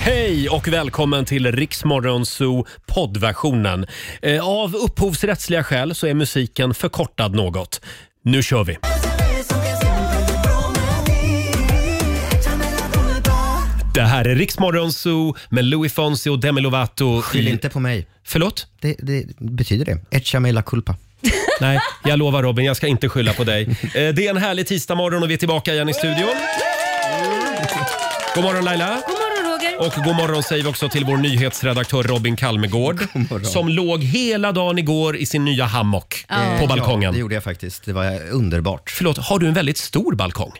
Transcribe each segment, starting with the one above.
Hej och välkommen till Riksmorgonzoo poddversionen. Eh, Av upphovsrättsliga skäl så är musiken förkortad något. Nu kör vi! Det här är Riksmorgonzoo med Louis Fonsi och Demi Lovato. Skyll inte på mig. Förlåt? Det, det betyder det. Echa me la culpa. Nej, jag lovar Robin, jag ska inte skylla på dig. Eh, Det är en härlig tisdagmorgon och vi är tillbaka igen i studion. God morgon Laila! God morgon Roger. Och god morgon säger vi också till vår nyhetsredaktör Robin Kalmegård som låg hela dagen igår i sin nya hammock på Ja, balkongen. det gjorde jag faktiskt. Det var underbart. Förlåt, har du en väldigt stor balkong?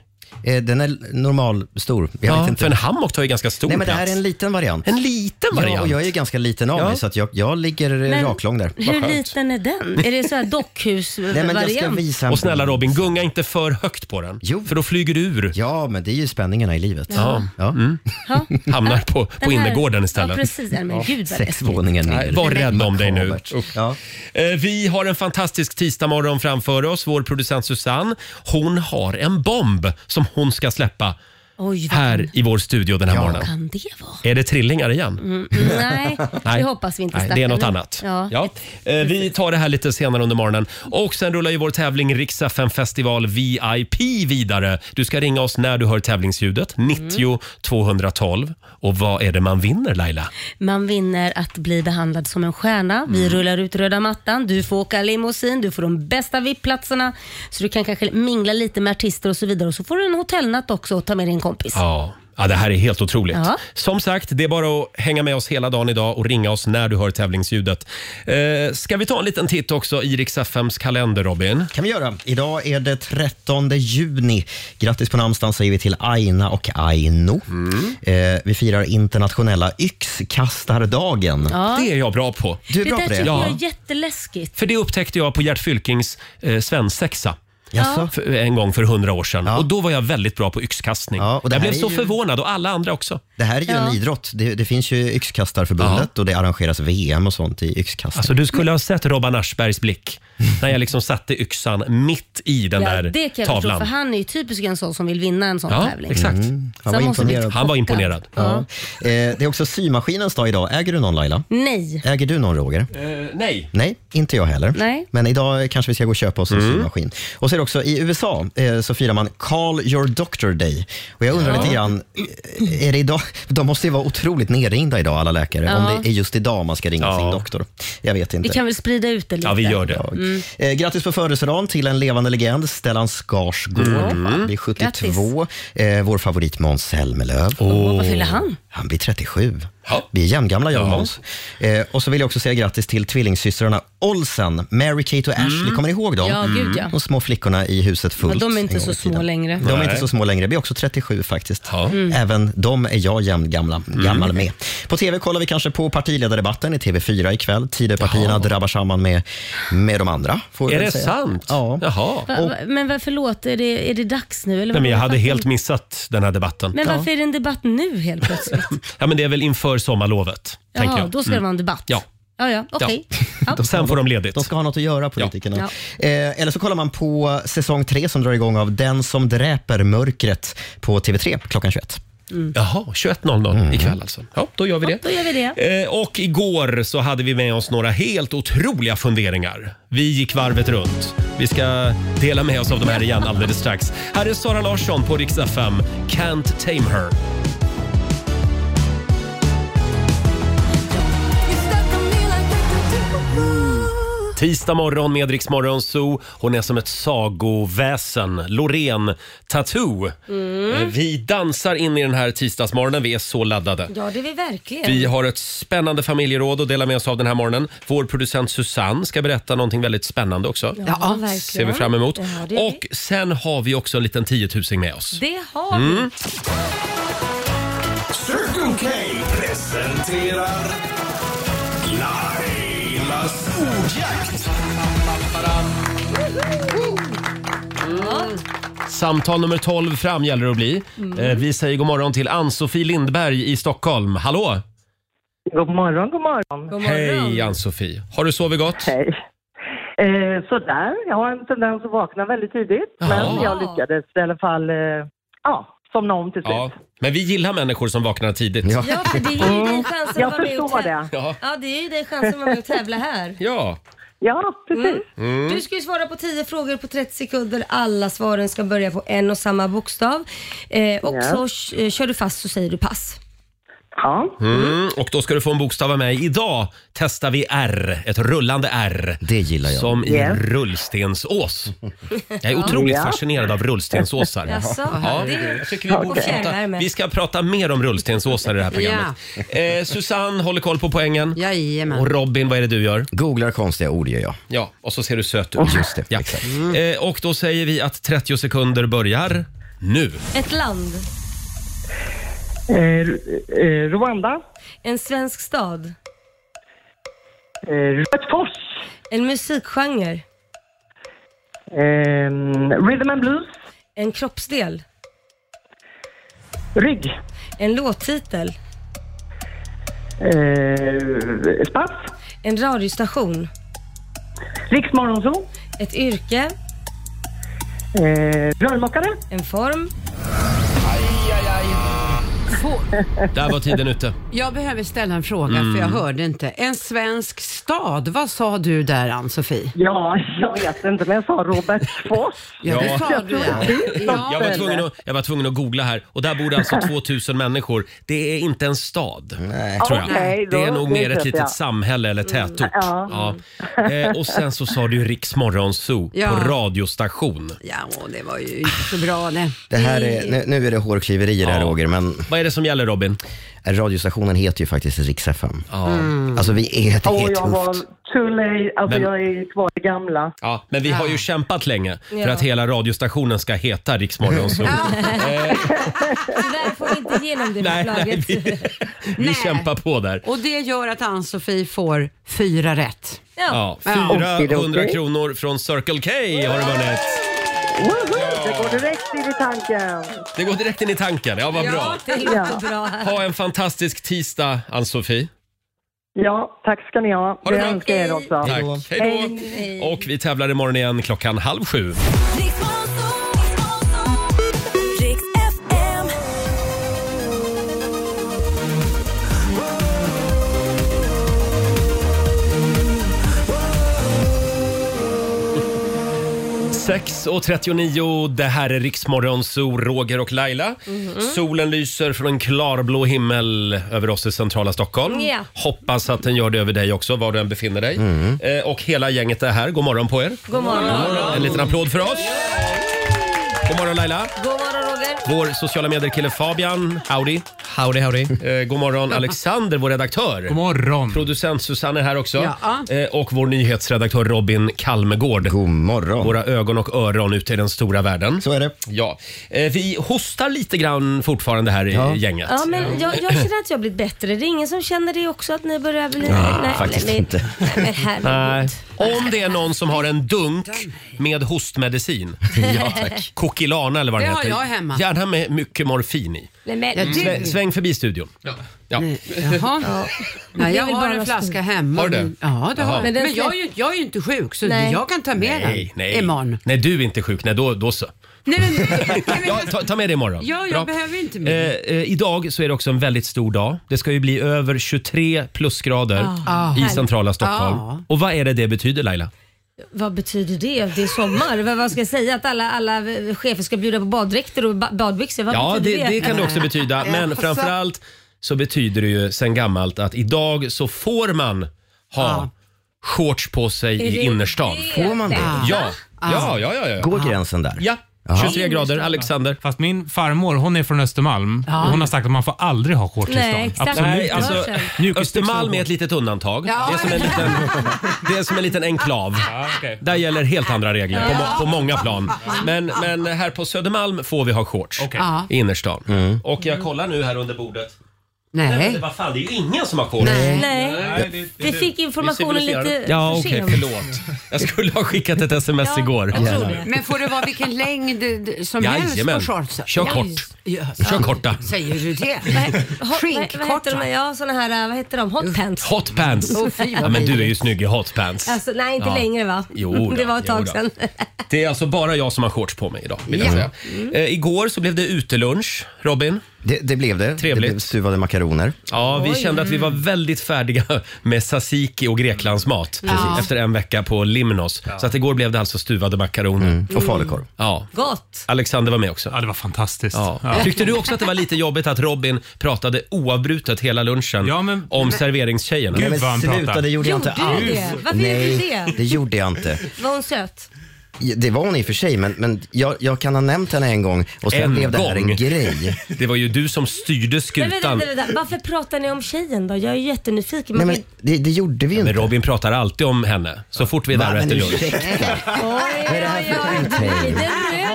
Eh, Den är normal stor. Jag vet inte. för en hammock tar ju ganska stor Nej, men det plats. här är en liten variant. En liten Ja, och variant. jag är ju ganska liten av Ja. mig så att jag, jag ligger men, raklång där. Hur liten är den? Är det så här Nej, men jag ska dockhusvariant? visa en Och snälla bild. Robin, gunga inte för högt på den. Jo. För då flyger du ur. Ja, men det är ju spänningarna i livet. Ja. Mm. Ja. Ja. Hamnar på, på Den här- innergården Ja, istället. precis. Nej, men gud vad Sex läskigt. våningar Nej, ner. var rädd om dig nu. Robert. Ja. Eh, Vi har en fantastisk tisdagmorgon framför oss. Vår producent Susanne, hon har en bomb som hon ska släppa Oj, vad här i vår studio den här morgonen. kan det vara? Mm, Är det trillingar igen? Nej, Nej. det hoppas vi inte. Nej, det är något stackarna. annat. Ja. Ja. Eh, Vi tar det här lite senare under morgonen. Och sen rullar ju vår tävling Rix FM festival VIP vidare. Du ska ringa oss när du hör tävlingsljudet. Mm. 90 212. Och vad är det man vinner Laila? Man vinner att bli behandlad som en stjärna. Vi Mm. rullar ut röda mattan. Du får åka limousin, du får de bästa VIP-platserna. Så du kan kanske mingla lite med artister och så vidare. Och så får du en hotellnatt också och ta med dig en kompis. Ja. Ja, det här är helt otroligt. Ja. Som sagt, det är bara att hänga med oss hela dagen idag och ringa oss när du hör tävlingsljudet. Eh, ska vi ta en liten titt också i Rix FMs kalender, Robin? kan vi göra. Idag är det 13 juni. Grattis på namnsdagen säger vi till Aina och Aino. Mm. Eh, vi firar internationella yxkastardagen. Det är jag bra på. Du är det bra där på det? tycker jag Ja. är jätteläskigt. För det upptäckte jag på Gert Fylkings eh, svensexa. Jaså? för, en gång för hundra år sedan. Och då var jag väldigt bra på yxkastning. Ja, och det jag här blev är så ju- förvånad och alla andra också. Det här är ju en idrott. Det, det finns ju Yxkastarförbundet och det arrangeras VM och sånt i yxkastning. Alltså du skulle ha sett Robban Aschbergs blick när jag liksom satte yxan mitt i den Ja, där det kan jag förstå, tavlan. för han är ju typiskt en sån som vill vinna en sån ja, tävling. exakt. Mm. han Så var måste bli imponerad. Han var chockad. imponerad. Ja. Ja. Eh, det är också symaskinens dag idag. Äger du någon Laila? Nej. Äger du någon Roger? Eh, nej. Nej, inte jag heller. Nej. Mm. Men idag kanske vi ska gå och köpa oss en symaskin. Och så är det också i USA eh, så firar man Call Your Doctor Day. Och jag undrar lite grann, eh, är det idag? De måste ju vara otroligt nerringda idag alla läkare. Om det är just idag man ska ringa Ja. sin doktor. Jag vet inte. Vi kan väl sprida ut det lite? Mm. Ja, vi gör det. dag. Eh, grattis på födelsedagen till en levande legend, Stellan Skarsgård. Mm. Han blir 72. Eh, vår favorit Måns Zelmerlöw. Åh, vad fyller han? Han blir 37. Ja. Vi är jämngamla jag och Ja. Måns. Eh, och så vill jag också säga grattis till tvillingsystrarna Olsen, Mary-Kate och Ashley. Kommer ni ihåg dem? Mm. Ja, gud, ja. De små flickorna i huset fullt. Ja, de är en inte gång så i tiden. små längre. De är Nej. inte så små längre. Vi är också 37 faktiskt. Ja. Mm. Även de är jag jämn gamla, gammal med. På TV kollar vi kanske på partiledardebatten i TV4 ikväll. Tidöpartierna drabbar samman med, med de andra. Får vi Är väl det säga. sant? Ja. Jaha. Va, va, men varför låt? Är det, är det dags nu? Eller Nej, men jag hade varför- helt missat den här debatten. Men varför är det en debatt nu helt plötsligt? Ja, men det är väl inför sommarlovet, tänker Jaha, jag. Mm. då ska det vara en debatt. Ja. Ja, ja, okej. Ja. Sen får de ledigt. De ska ha något att göra, politikerna. Eh, eller så kollar man på säsong tre som drar igång av Den som dräper mörkret på TV3 klockan 21. Jaha, 21.00 ikväll alltså. Ja, då gör vi det. Mm. då gör vi det. Eh, och igår så hade vi med oss några helt otroliga funderingar. Vi gick varvet runt. Vi ska dela med oss av de här igen alldeles strax. Här är Sara Larsson på Rix FM. Can't tame her. Tisdag morgon med Rix Morgon Zoo. Hon är som ett sagoväsen. Loreen Tattoo. Mm. Eh, Vi dansar in i den här tisdagsmorgonen. Vi är så laddade. Ja, det är vi verkligen. Vi har ett spännande familjeråd att dela med oss av den här morgonen. Vår producent Susanne ska berätta någonting väldigt spännande också. Ja, verkligen. Ser vi fram emot. Ja, det, gör Och vi. sen har vi också en liten tiotusing med oss. det har Mm. vi. Circle K presenterar Lailas ordjakt. Samtal nummer 12 fram gäller det att bli. Mm. Eh, Vi säger god morgon till Ann-Sofie Lindberg i Stockholm. Hallå! God morgon, god morgon. God morgon. Hej Ann-Sofie! Har du sovit gott? Hej. Eh, sådär, jag har en tendens att vakna väldigt tidigt. Men Ja. jag lyckades i alla fall. Eh, ja, somna om till slut. Ja. Men vi gillar människor som vaknar tidigt. Ja. Ja, för det ger ju dig chansen Jag att vara med och förstår tävla. det. Ja. Ja, det ger ju dig chansen att vara med och tävla här. Mm. Ja. Ja, precis. Mm. Du ska ju svara på 10 frågor på 30 sekunder. Alla svaren ska börja på en och samma bokstav. Eh, och Ja. så eh, kör du fast så säger du pass. Ja. Mm. Och då ska du få en bokstav av mig. Idag testar vi R, ett rullande R. Det gillar jag. Som i Yes. rullstensås. Jag är otroligt Ja. fascinerad av rullstensåsar. Jaså, Ja, det är- jag tycker vi, borde Okej. prata, vi ska prata mer om rullstensåsar i det här programmet. Eh, Susanne håller koll på poängen. Jajamän. Och Robin, vad är det du gör? Googlar konstiga ord gör jag. Ja, och så ser du söt ut. Just det, Ja. exakt. Eh, och då säger vi att 30 sekunder börjar nu. Ett land. Eh, eh, Rwanda. En svensk stad. Eh, Rödfors. En musikgenre. Eh, rhythm and blues. En kroppsdel. Rygg. En låttitel. Eh, spass. En radiostation. Riksmorgonzoo. Ett yrke. Eh, rörmokare. En form. Få- Där var tiden ute. Jag behöver ställa en fråga för Mm. jag hörde inte. En svensk stad, vad sa du där Ann-Sofie? Ja, jag vet inte, men jag sa Robertsfors. Ja, Ja. det sa du ja. Jag ja. var, tvungen att, jag var tvungen att googla här och där bor det alltså 2000 människor. Det är inte en stad, tror jag. Okej, då- det är nog det mer ett köper litet jag. samhälle eller tätort. Ja. Ja. Eh, och sen så sa du ju Riksmorgonzoo Ja. på radiostation. Ja, och det var ju inte så bra det. Det här är, nu, nu är det hårklyverier här Ja. Roger, men Vad är det som gäller Robin? radiostationen heter ju faktiskt Rix FM. Ja. Alltså vi är, det Åh, är jag var tufft. too late. Alltså, Men- jag är kvar i gamla. Ja, men vi har ju kämpat länge för Ja. att hela radiostationen ska heta Riksmorgonzoo. Tyvärr får vi inte igenom det Eh. Nej, nej, förslaget. vi, vi Nej. kämpar på där. Och det gör att Ann-Sofie får fyra rätt. Ja. Ja, 400 Okidoki. kronor från Circle K har du vunnit. Woho! Det går direkt in i tanken. Det går direkt in i tanken. Ja, vad bra. Det låter bra. Ha en fantastisk tisdag, Ann-Sofie. Ja, tack ska ni ha. det Det bra. önskar jag er också. Tack. Hej då. Och vi tävlar imorgon igen klockan halv sju. Riks FM. Sex och 39, det här är Riksmorgon, Zoo, Roger och Laila. Solen lyser från en klarblå himmel över oss i centrala Stockholm. Ja. Hoppas att den gör det över dig också, var du än befinner dig. Eh, och hela gänget är här. God morgon på er. God morgon. En liten applåd för oss. God morgon Laila. God morgon Roger. Vår sociala medier-kille Fabian, howdy. Howdy, howdy. Eh, god morgon Alexander, vår redaktör. God morgon. Producent Susanne är här också. Ja. Eh, och vår nyhetsredaktör Robin Kalmegård. God morgon. Våra ögon och öron ute i den stora världen. Så är det. Ja. Eh, vi hostar lite grann fortfarande här i gänget. Ja, men jag, jag känner att jag har blivit bättre. Det är ingen som känner det också att ni börjar bli... Ja, nej, faktiskt nej, inte. Nej, men herregud. Om det är någon som har en dunk med hostmedicin, ja, tack. Kokilana eller vad den Det har heter, jag hemma. gärna med mycket morfin i. Nej, men, Svä- Sväng förbi studion. Ja. Jaha. Nej, jag Det är väl har bara en flaska hemma. Har du? Ja, det har Jaha. jag. Men Men, den jag, är ju, jag är ju inte sjuk så Nej. jag kan ta med Nej, den nej. imorgon. Nej, du är inte sjuk. Nej, då, då så. Nej, men, nej, men, Ja, ta, ta med det imorgon. Ja, jag behöver inte Eh, mer. eh, idag så är det också en väldigt stor dag. Det ska ju bli över 23 plusgrader i centrala Stockholm. Ah. Och vad är det det betyder Laila? Vad betyder det? Det är sommar. Vad- Vad ska jag säga? Att alla, alla chefer ska bjuda på baddräkter och ba- badbyxor? Vad Ja, det, betyder det? det kan det också betyda. Men alltså. framförallt så betyder det ju sen gammalt att idag så får man Ah. ha shorts på sig i innerstan. Får man det? Ja, Ah. ja, ja, ja. ja. Går gränsen där? ja. 23 grader, Alexander. Fast min farmor hon är från Östermalm och hon har sagt att man får aldrig ha shorts i stan. Nej, exakt. Absolut Nej, inte. alltså, Hörseln. Mjukisbyxor Östermalm och är ett shorts. litet undantag. Ja. Det, är som en liten, det är som en liten enklav. Ja, okej. Där gäller helt andra regler på, må- på många plan. Men, men här på Södermalm får vi ha shorts Okej. i innerstan. Och jag kollar nu här under bordet. Nej, men Nej. vad fan, det är ju ingen som har koll. Nej. Nej, det- det- Vi fick informationen civiliserade. lite Ja, för okej, sent. förlåt. Jag skulle ha skickat ett sms igår. jag tror det. Men får det vara vilken längd eh, som helst Jajamän. på shortsen? Kör Ja, kort. just- ja, Kör korta. Säger du det? Ha- vad, vad heter Skinkkorta. de? Ja, såna här, eh, vad heter de? Hot pants. Oh, Hot pants. Åh, fy, vad Ja, men du är ju vidrigt. snygg i hot pants. Alltså, nej, inte Ja. längre va? Jo då, det var ett jo tag då. sedan. Det är alltså bara jag som har shorts på mig idag. Vill jag Ja. säga. Eh, igår så blev det utelunch, Robin. Det, det blev det. Trevligt. Det blev stuvade makaroner. Ja, vi kände att vi var väldigt färdiga med tzatziki och Greklandsmat efter en vecka på Limnos. Så att igår blev det alltså stuvade makaroner. Mm. Och falukorv. Ja. Gott. Alexander var med också. Ja, det var fantastiskt. Ja. Tyckte du också att det var lite jobbigt att Robin pratade oavbrutet hela lunchen Ja, men- om serveringstjejerna? Gud. Nej, vad han men sluta, pratar. det gjorde jag Gjorde inte du alls. det? Varför gjorde Nej, du det? det gjorde jag inte. Var hon söt? Det var hon i och för sig, men, men jag, jag kan ha nämnt henne en gång och sen En blev det här gång. en grej. Det var ju du som styrde Men vänta, skutan. vänta, vänta. Varför pratar ni om tjejen då? Jag är jättenyfiken. Man Nej, men vill- det, det gjorde vi ju Men inte. Robin pratar alltid om henne så fort vi är där och men äter lunch. ursäkta. Oj, Vad är det här oj, för oj. Den uthäng? röd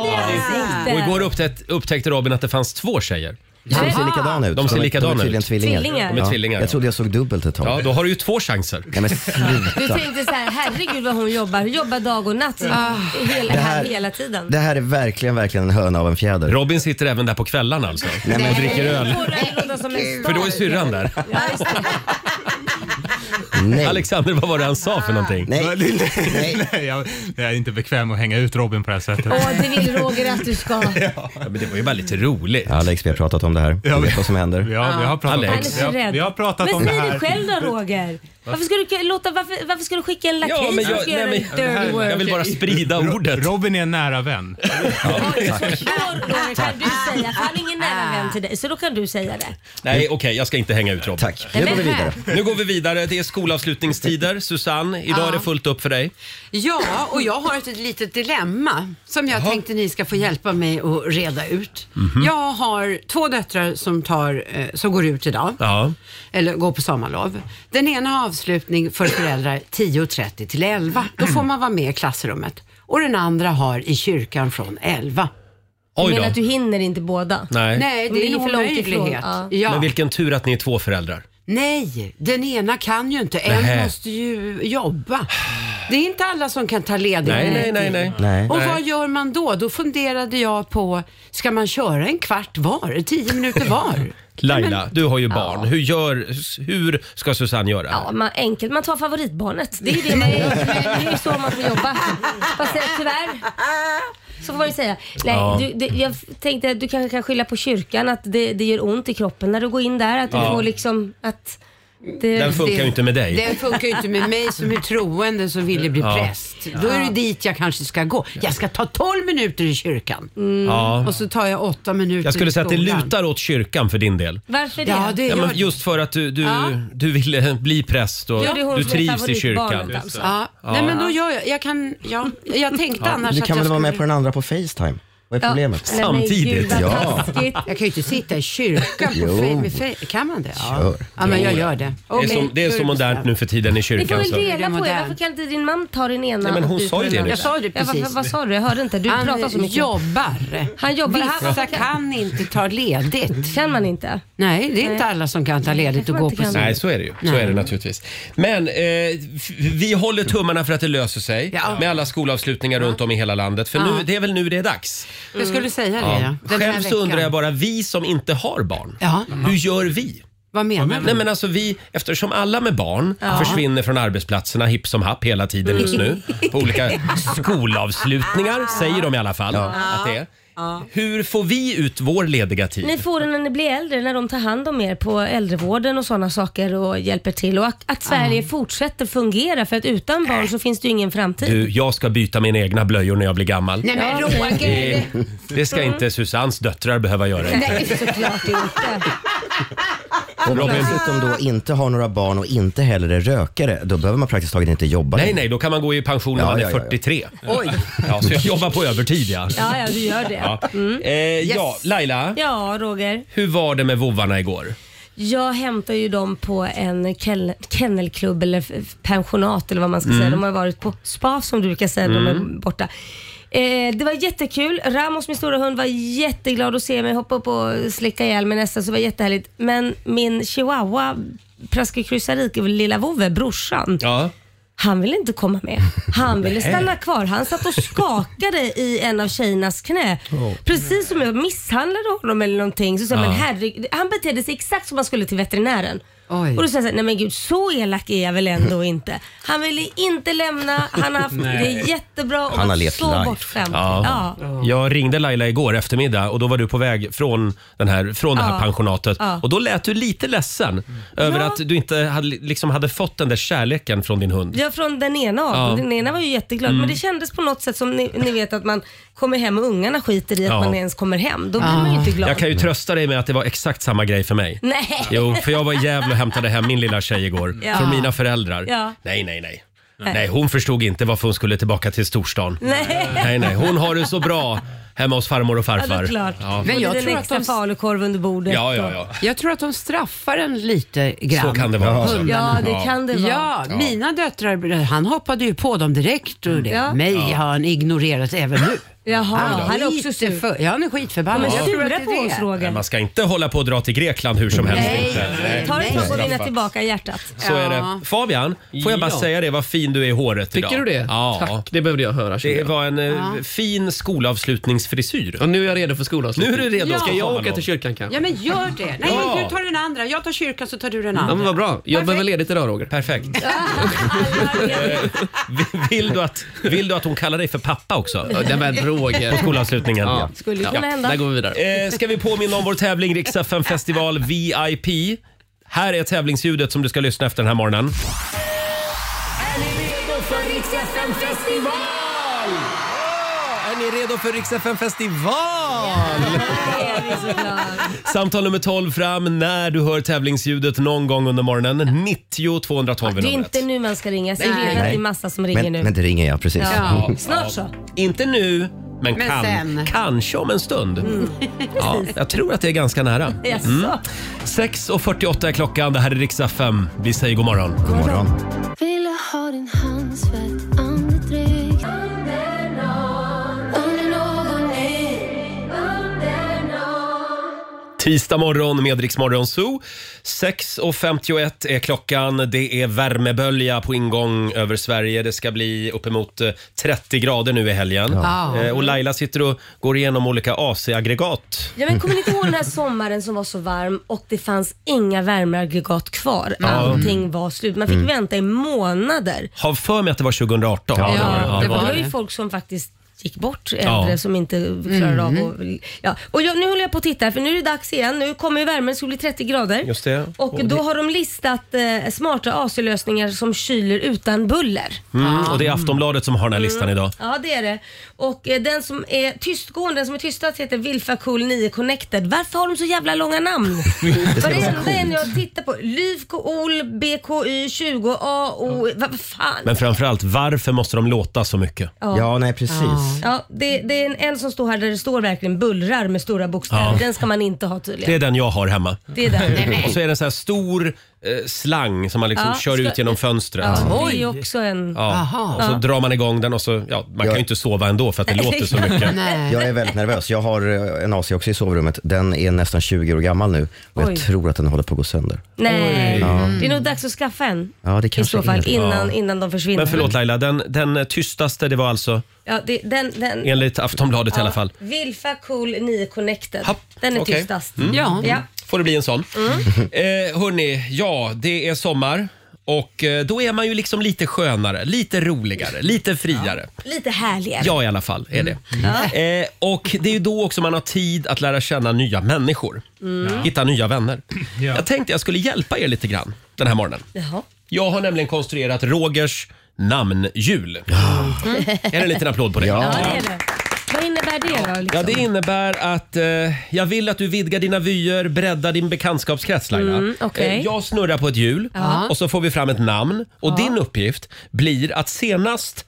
i Och igår ansiktet. upptäckte, upptäckte Robin att det fanns två tjejer. De ser likadana ut. De ser är- likadana de är tydligen ut. Tvillingar. Tvillingar. De är tvillingar, ja. Jag trodde jag såg dubbelt ett tag. Ja, då har du ju två chanser. Nej men Du sluta. tänkte så här, herregud vad hon jobbar. Hon jobbar dag och natt. Hela, här, Det här- hela tiden. Det här är verkligen, verkligen en höna av en fjäder. Robin sitter även där på kvällarna alltså. Nej, men- Och dricker öl. Får det låta som en För då är star. syrran där. Ja, just det. Nej. Alexander, vad var det han sa för någonting? Nej. Nej. Nej, jag, jag är inte bekväm att hänga ut Robin på det här sättet. Åh, det vill Roger att du ska. Ja, men det var ju bara lite roligt. Alex, vi har pratat om det här. Du vet vad som händer. Ja, vi har pratat, Alex. Han om- är vi så har, rädd. vi har pratat men om det säg här. det själv då Roger. Varför ska du, låta, varför, varför ska du skicka en Ja, lakej men som jag, ska göra nej, men, dirty work? jag vill bara sprida ordet. Robin är en nära vän. Då, Roger, kan du säga, för han är ingen nära vän till dig, så då kan du säga det. Nej, okej, jag ska inte hänga ut Robin. Tack. Nu går vi vidare. Nu går vi vidare. Det är skolavslutningstider. Susanne, idag är det fullt upp för dig. Ja, och jag har ett litet dilemma som jag tänkte ni ska få hjälpa mig att reda ut. Mhm. Jag har två döttrar som, tar, eh, som går ut idag, Ja. eller går på sommarlov. Den ena har avslutning för föräldrar 10.30 till 11. Då får man vara med i klassrummet. Och den andra har i kyrkan från 11. Oj Men att du då. hinner inte båda. Nej. Nej, Det det är är en för långt omöjlighet. ifrån, Men Ja. vilken tur att ni är två föräldrar. Nej, den ena kan ju inte. En Nähä. måste ju jobba. Det är inte alla som kan ta ledigt. Nej, nej, nej, nej. Nej. Och Nej. vad gör man då? Då funderade jag på, ska man köra en kvart var? Tio minuter var? Laila, du har ju barn. Hur, gör, hur ska Susanne göra? Ja, man, enkelt. Man tar favoritbarnet. Det är ju det man gör. Det är ju så man får jobba. Fast eh, tyvärr. Så får man ju säga. Nej, Ja. du, det, jag tänkte att du kanske kan skylla på kyrkan, att det, det gör ont i kroppen när du går in där. Att du Ja. får liksom att... Det, Den funkar ju inte med dig. Det funkar ju inte med mig som är troende som ville bli präst. Då är det dit jag kanske ska gå. Jag ska ta 12 minuter i kyrkan Mm. Ja. och så tar jag 8 minuter Jag skulle i säga att det skolan. lutar åt kyrkan för din del. Varför det? Ja, det Ja, gör men det. just för att du, du, du ville bli präst och Ja, det är hon du som är trivs i favoritbarnet, kyrkan. alltså. Ja. Nej men då gör jag, jag kan, ja, jag tänkte annars Du att kan jag väl vara med skulle- på den andra på Facetime? Vad är Ja. problemet? Nej, men Samtidigt. Gud, vad Ja. taskigt. Jag kan ju inte sitta i kyrkan på Jo. fej, med fej, Kan man det? Ja, Kör. ja men jag gör det. Det är, som, det är så modernt nu för tiden i Ni får kyrkan. väl Så. dela på er. modern. Varför kan inte din man ta den ena? men och hon du sa ta ju den det andra? nyss. Jag sa det Ja, vad, precis. vad sa du? Jag hörde inte. Du pratar Han så mycket. jobbar. Han jobbar. Vissa Han- kan inte ta ledigt. Kan man inte? Nej, det är inte alla som kan ta ledigt och kanske man gå inte på kan. sin... Nej, så är det ju. Så är det naturligtvis. Men eh, f- vi håller tummarna för att det löser sig Ja. med alla skolavslutningar runt om i hela landet. För nu, det är väl nu det är dags. Mm. Jag skulle säga det, ja. Den här Själv så undrar jag veckan. bara, vi som inte har barn, Ja. hur gör vi? Vad menar du? Nej men alltså vi, eftersom alla med barn försvinner från arbetsplatserna hipp som happ hela tiden just nu. På olika skolavslutningar säger de i alla fall att det är. Hur får vi ut vår lediga tid? Ni får den när ni blir äldre, när de tar hand om er på äldrevården och sådana saker och hjälper till. Och att, att Sverige fortsätter fungera, för att utan barn så finns det ju ingen framtid. Du, jag ska byta mina egna blöjor när jag blir gammal. Nej men Roger! Det, det ska inte Susannes döttrar behöva göra. Nej, såklart inte. Om man dessutom då inte har några barn och inte heller är rökare, då behöver man praktiskt taget inte jobba. Nej, nej, då kan man gå i pension när Ja, man ja, är ja, ja. 43. Ja, så jag jobbar på övertid ja. Ja, ja, du gör det. Mm. Ja, Ja, eh, ja Laila, Roger. hur var det med vovvarna igår? Jag hämtar ju dem på en kel- kennelklubb eller f- pensionat eller vad man ska säga. De har varit på spa som du brukar säga när de är borta. Eh, det var jättekul. Ramos, min stora hund, var jätteglad att se mig hoppa upp och slicka ihjäl mig nästan, så det var jättehärligt. Men min chihuahua, Praske Krysarik, lilla vovve, brorsan, Ja. han ville inte komma med. Han ville stanna kvar. Han satt och skakade i en av tjejernas knä. Precis som jag misshandlade honom eller någonting. Så sa jag, men herregud. Han betedde sig exakt som han skulle till veterinären. Oj. Och då sa jag så här, nej men gud så elak är jag väl ändå inte. Han ville inte lämna, han har haft det jättebra och Han har varit levt så life. bortskämd. Ja. Ja. Jag ringde Laila igår eftermiddag och då var du på väg från, den här, från det här Ja. pensionatet. Ja. Och då lät du lite ledsen över Ja. att du inte hade, liksom hade fått den där kärleken från din hund. Ja, från den ena av Ja. Mm. dem. Den ena var ju jätteglad. Men det kändes på något sätt som ni, ni vet att man kommer hem och ungarna skiter i att Ja. man ens kommer hem. Då blir Ah. man ju inte glad. Jag kan ju trösta dig med att det var exakt samma grej för mig. Nej. Jo, för jag var i Gävle och hämtade hem min lilla tjej igår Ja. från mina föräldrar. Ja. Nej, nej, nej. Nej, hon förstod inte varför hon skulle tillbaka till storstan. Nej. Nej, nej, hon har det så bra hemma hos farmor och Ja, det är farfar. klart. Ja. Men Men jag jag tror att extra de- falukorv under bordet. Ja, ja, och- ja. Jag tror att de straffar en lite grann. Så kan det vara. också. Ja, det kan det vara. Ja, mina döttrar, han hoppade ju på dem direkt och det. Ja. mig har han ignorerat även nu. Jaha, han är också sur. Skitför- Ja, han är De skitförbannad. är Jag tror att sura det är på oss det. Men Roger. man ska inte hålla på och dra till Grekland hur som helst. Nej. Inte. Nej. Ta Nej. det som att vinna Straffat. tillbaka hjärtat. Så är Ja. det. Fabian, får jag bara Ja. säga det vad fin du är i håret idag. Tycker du det? Ja. Tack, det behövde jag höra. känner Det jag. var en eh, fin skolavslutningsfrisyr. Och nu är jag redo för skolan. Nu är du redo. Ska jag Fabian. åka till kyrkan kanske? Ja, men gör det. Nej, Ja. men du tar den andra. Jag tar kyrkan så tar du den Ja, men andra. vad bra. Jag behöver ledigt idag Roger. Perfekt. Eh, vill, du att, vill du att hon kallar dig för pappa också? Ja, Det var Roger. På skolavslutningen. Ja. Skulle kunna hända. Där går vi vidare. Eh, ska vi påminna om vår tävling Riksa 5 festival VIP. Här är tävlingsljudet som du ska lyssna efter den här morgonen. Är ni redo för Riksa 5 festival? Det är vi så glada. Samtal nummer 12 fram när du hör tävlingsljudet någon gång under morgonen. 90 212 är Det är numret. inte nu man ska ringa. Jag ser redan att det är massa som ringer Men, nu. men det ringer jag precis. ja. Snart så. Inte nu, men, Men kan, sen. kanske om en stund. Ja, jag tror att det är ganska nära. Mm. Mm. Jaså? 6.48 är klockan. Det här är riksdag 5. Vi säger god morgon. God morgon. Ville ha din handsvett, andedräkt Under någon Tisdag morgon med Rix Morgon Zoo. 6.51 är klockan. Det är värmebölja på ingång över Sverige. Det ska bli uppemot eh, 30 grader nu i helgen. Ja. Eh, Och Laila sitter och går igenom olika AC-aggregat. Ja, men kommer ni inte ihåg den här sommaren som var så varm och det fanns inga värmeaggregat kvar? Allting var slut. Man fick vänta i månader. Har för mig att det var 2018. det var det. Ja, det, det var, var ju det. folk som faktiskt gick bort äldre Ja. som inte klarade av att... Ja. Och jag, nu håller jag på att titta här, för nu är det dags igen. Nu kommer ju värmen, det ska bli 30 grader. Just det. Och, då har de listat eh, smarta AC-lösningar som kyler utan buller. Mm, och det är Aftonbladet som har den här listan idag. Mm. Ja, det är det. Och eh, den som är tystgående, den som är tystast heter Vilfa Cool 9 Connected. Varför har de så jävla långa namn? Varenda en jag tittar på. Lyvko Ol, BKY 20, AO... Vad fan? Men framförallt, varför måste de låta så mycket? Ja, nej precis. Ja, det, det är en, en som står här där det står verkligen bullrar med stora bokstäver. Ja. Den ska man inte ha Det är tydligen. den jag har hemma. Det är den. Och så är det en sån här stor eh, slang som man liksom Ja, kör ska- ut genom fönstret. Ja, det är också en... Ja. Aha. Och så drar man igång den och så, ja, man kan ju inte sova ändå för att det låter så mycket. Nej. Jag är väldigt nervös. Jag har eh, en AC också i sovrummet. Den är nästan 20 år gammal nu och jag Oj. tror att den håller på att gå sönder. Nej, Mm. det är nog dags att skaffa en. Ja, det I kanske så fall är det. innan, innan de försvinner. Men förlåt Laila, den, den tystaste det var alltså, Ja, det, den, den, enligt Aftonbladet i alla fall. Vilfa Cool 9 Connected. Happ, Den är okej. Mm. tystast. Ja. Ja. Får det bli en sån. Mm. Eh, hörni, ja det är sommar. Och eh, då är man ju liksom lite skönare, lite roligare, lite friare. Lite härligare. Jag i alla fall är det. Mm. Eh, och det är ju då också man har tid att lära känna nya människor. Mm. Hitta nya vänner. Ja. Jag tänkte jag skulle hjälpa er lite grann den här morgonen. Jaha. Jag har nämligen konstruerat Rogers namnjul. Är det en liten applåd på det? Ja, det är det. Vad innebär det då? Liksom? Ja, det innebär att eh, jag vill att du vidgar dina vyer, breddar din bekantskapskrets Laila. Mm, okej. eh, jag snurrar på ett hjul och så får vi fram ett namn och din uppgift blir att senast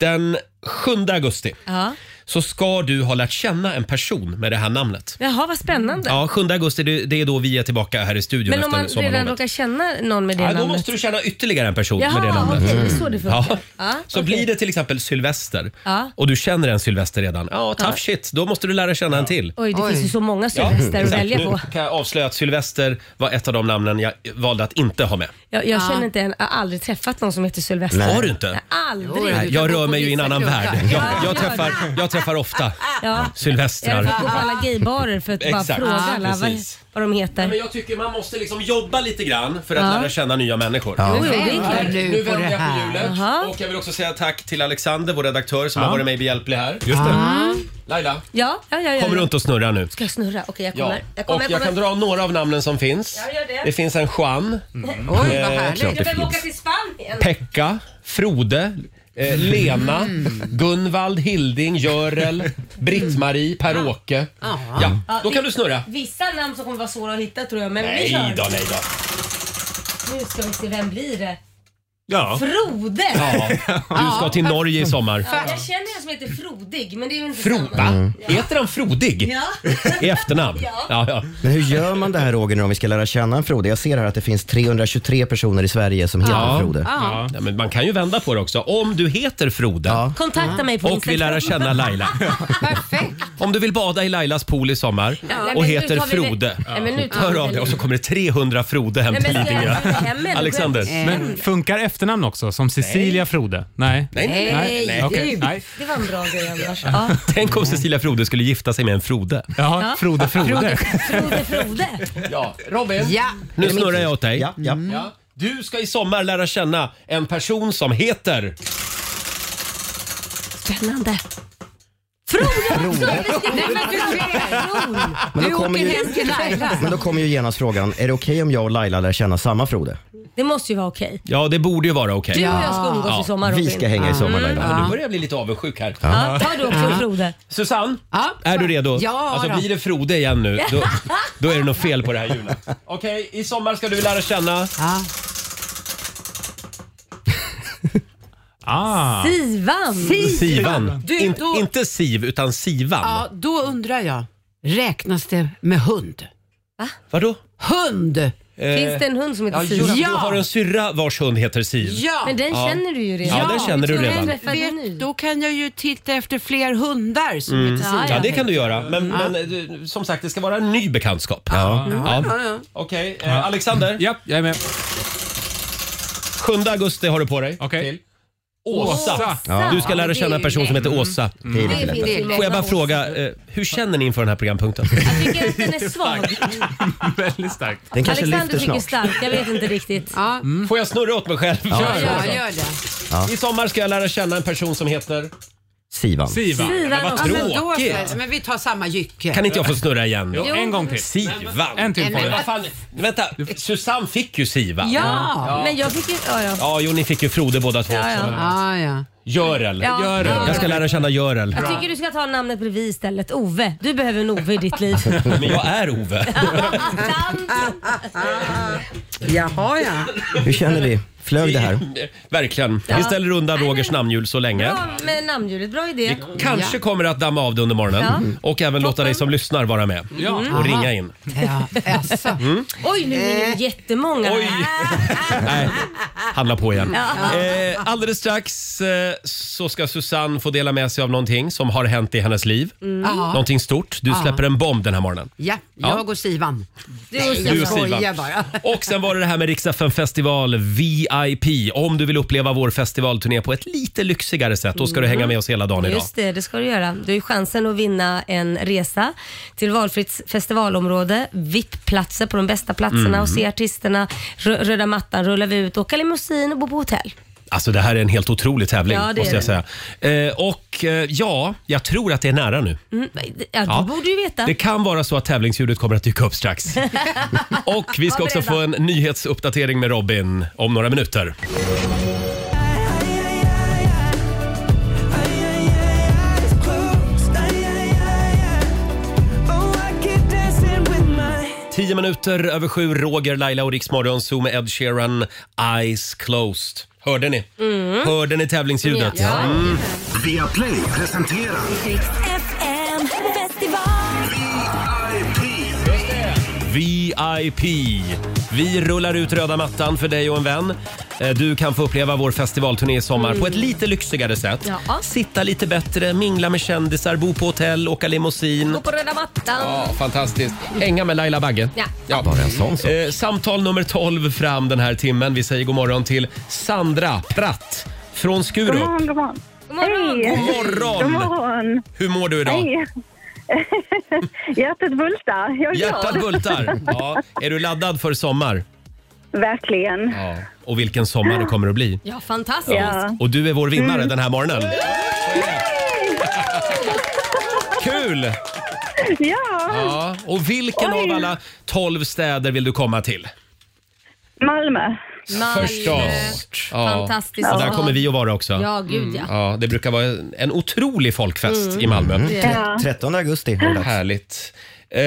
den 7 augusti Ja. så ska du ha lärt känna en person med det här namnet. Jaha, vad spännande. Ja, 7 augusti det det är då vi är tillbaka här i studion Men om efter man redan sommarlovet. råkar känna någon med det Ja, då namnet? måste du känna ytterligare en person Jaha, med det namnet. Mm. okej, det är så det funkar. Ja. Ja, Så okej. blir det till exempel Sylvester Ja. och du känner en Sylvester redan. Ja, tough Ja. shit. Då måste du lära känna en till. Oj, det finns ju så många Sylvester att exakt. välja på. Nu kan jag avslöja att Sylvester var ett av de namnen jag valde att inte ha med. Jag, jag känner inte en, jag har aldrig träffat någon som heter Sylvester. Nej. Har du inte? Nej, Aldrig. Nej, jag rör mig ju i en annan värld. Jag, jag, träffar, jag träffar ofta Ja. Jag fick gå på Sylvestrar. alla gaybarer för att bara Exakt. fråga Ja, alla vad, precis. vad de heter. Men jag tycker man måste liksom jobba lite grann för att Ja. lära känna nya människor. Jo, jo, det är klart. Nu vänder jag på hjulet. Jaha. Och jag vill också säga tack till Alexander, vår redaktör, som Ja. har varit mig behjälplig här. Just det. Mm. Laila, Ja, ja, ja, ja. kom ja. runt och snurra nu. Ska jag snurra? Okej, jag Ja. kommer. Jag Och kommer, jag kan kommer. dra några av namnen som finns. Ja, gör det. Det finns en Juan. eh, Mm. Oj, vad härligt. Jag behöver åka till Spanien. Pekka, Frode, Mm. eh, Lena, Gunvald, Hilding, Görel, Britt-Marie, Per-Åke. Ja. Ja, då kan du snurra. Vissa namn som kommer vara svåra att hitta tror jag, men vi Nej kör. då, nej då. Nu ska vi se, vem blir det? Ja. Frode! Ja. Du ska till Norge i sommar. Ja, jag känner en som heter Frodig, men det är ju inte Fro- samma. Mm. Va? Heter han Frodig? Ja. I efternamn? Ja. Ja, ja. Men hur gör man det här Roger nu om vi ska lära känna en Frode? Jag ser här att det finns 323 personer i Sverige som heter Frode. Ja. Ja, men man kan ju vända på det också. Om du heter Frode Kontakta mig på och Instagram. vill lära känna Laila. Perfekt. Om du vill bada i Lailas pool i sommar Ja. Nej, och men nu heter tar vi det- Frode, Nej, men nu tar vi hör det av dig. lugnt. Och så kommer det 300 Frode hem Nej, till men Lidingö. ska jag hem eller? Alexander. Men funkar efternamn också? Som Cecilia Frode? Nej. Nej, nej, nej. nej. Okej. nej. Det var en bra grej annars. Ja. Tänk om Cecilia Frode skulle gifta sig med en Frode. Ja, Frode Frode. Frode, Frode. Ja, Robin. Ja. Nu snurrar jag åt dig. Ja, ja. Ja. Du ska i sommar lära känna en person som heter... Spännande. Frode också! Nej, men du ser. Men, Du då kommer åker ju, hem till Laila. men då kommer ju genast frågan, är det okej om jag och Laila lär känna samma Frode? Det måste ju vara okej. Ja, det borde ju vara okej. Du och jag ska umgås Ja. i sommar Robin. Mm. Vi ska hänga i sommar Laila. Nu börjar jag bli lite avundsjuk här. Ja, tar du också Frode? Susanne, Ja. är du redo? Ja, alltså, då. blir det Frode igen nu, då, då är det något fel på det här hjulet. Okej, i sommar ska du lära känna... Ja. Ah. Sivan! Sivan. Du, In, då- Inte Siv, utan Sivan. Ja, då undrar jag. Räknas det med hund? Vadå? Eh, Hund! Finns det en hund som heter Ja, Sivan? just, Ja. Du har en syrra vars hund heter Siv. Ja! Men den känner du ju redan. Ja, den känner du Men redan. träffar du nu? Vet, då kan jag ju titta efter fler hundar som heter Sivan. Mm. Ja, det kan du göra. Men, men eh, som sagt, det ska vara en ny bekantskap. Ja. Ja. Okej, eh, Alexander. Ja, jag är med. 7 augusti har du på dig. Okej. Till. Åsa. Ja. Du ska lära känna en person som heter Åsa. Det är lite Det lättare. finns ju många Får jag bara år. fråga, eh, hur känner ni inför den här programpunkten? Jag tycker att den är svag. Väldigt starkt. Mm. Den kanske Alexander lyfter tycker snart. stark, jag vet inte riktigt. Ja, Får jag snurra åt mig själv? ja, gör det. I sommar ska jag lära känna en person som heter... Sivan. Siva. Sivan vad också. Ja, men, då, Tråkigt. så- men vi tar samma jycke. Kan inte jag få snurra igen? Jo, en gång till. Sivan. En till får Men du. vad fan, vänta, Susanne fick ju Sivan. Ja! Ja, men jag fick ju... Ja, ja. Ja, jo, ni fick ju Frode båda två Ja, också. ja. Ja, ja. Görel. Ja. Görel. Jag ska lära känna Görel. Jag tycker du ska ta namnet bredvid istället. Ove. Du behöver en Ove i ditt liv. Men jag är Ove. Jaha, ja. Hur känner vi? Flög det här? Verkligen. Vi ställer undan Rogers namnhjul så länge. Bra med namndjuret, bra idé. Kanske kommer att damma av det under morgonen Ja. och även låta dig som lyssnar vara med och ringa in. ja. Eh. Jaså. Oj, nu är det jättemånga. Oj! Nej, handla på igen. Eh, alldeles strax eh, så ska Susanne få dela med sig av någonting som har hänt i hennes liv. Mm. Ja. Någonting stort. Du släpper en bomb den här morgonen. ja, jag och Sivan. Du och Du Sivan. och skojar Sivan. bara. Och sen var det det här med Riksdagen festival VIP. Om du vill uppleva vår festivalturné på ett lite lyxigare sätt, då ska du hänga med oss hela dagen idag. Mm. Just det, det ska du göra. Du har ju chansen att vinna en resa till valfritt festivalområde, VIP-platser på de bästa platserna och Mm. se artisterna. Rö- röda mattan rullar vi ut, åka limousin och bo på hotell. Alltså det här är en helt otrolig tävling Ja, det måste är jag säga. Eh, och eh, ja, jag tror att det är nära nu. Mm, ja, du Ja. borde ju veta. Det kan vara så att tävlingsljudet kommer att dyka upp strax. och vi ska Var också få en beredda. nyhetsuppdatering med Robin om några minuter. Tio minuter över sju, Roger, Laila och Riksmorgon, Zoom med Ed Sheeran, Eyes Closed. Hörde ni? Mm. Hörde ni tävlingsljudet? Ja. Mm. Via Play presenterar Riks FM festival. VIP. Vi rullar ut röda mattan för dig och en vän. Eh, Du kan få uppleva vår festivalturné i sommar Mm. på ett lite lyxigare sätt. Ja. Sitta lite bättre, mingla med kändisar, bo på hotell, åka limousin. Gå på röda mattan. Ja, fantastiskt. Hänga med Laila Bagge. Ja. Bara en sån eh, Samtal nummer 12 fram den här timmen. Vi säger god morgon till Sandra Pratt från God Skurup. morgon, god morgon. God morgon. God morgon. God morgon. Hur mår du idag? Hej. Hjärtat bultar. Jag är Hjärtat glad. bultar. Ja. Är du laddad för sommar? Verkligen. Ja. Och vilken sommar det kommer att bli. Ja, fantastiskt. Ja. Och du är vår vinnare den här morgonen. Kul! Ja. Och vilken Oj. av alla 12 städer vill du komma till? Malmö. Förstås. Ja. Fantastisk Och där stad. kommer vi att vara också. Mm. Ja, gud, ja. ja det brukar vara en- en otrolig folkfest Mm. i Malmö. Mm. Ja. 13 augusti. Härligt.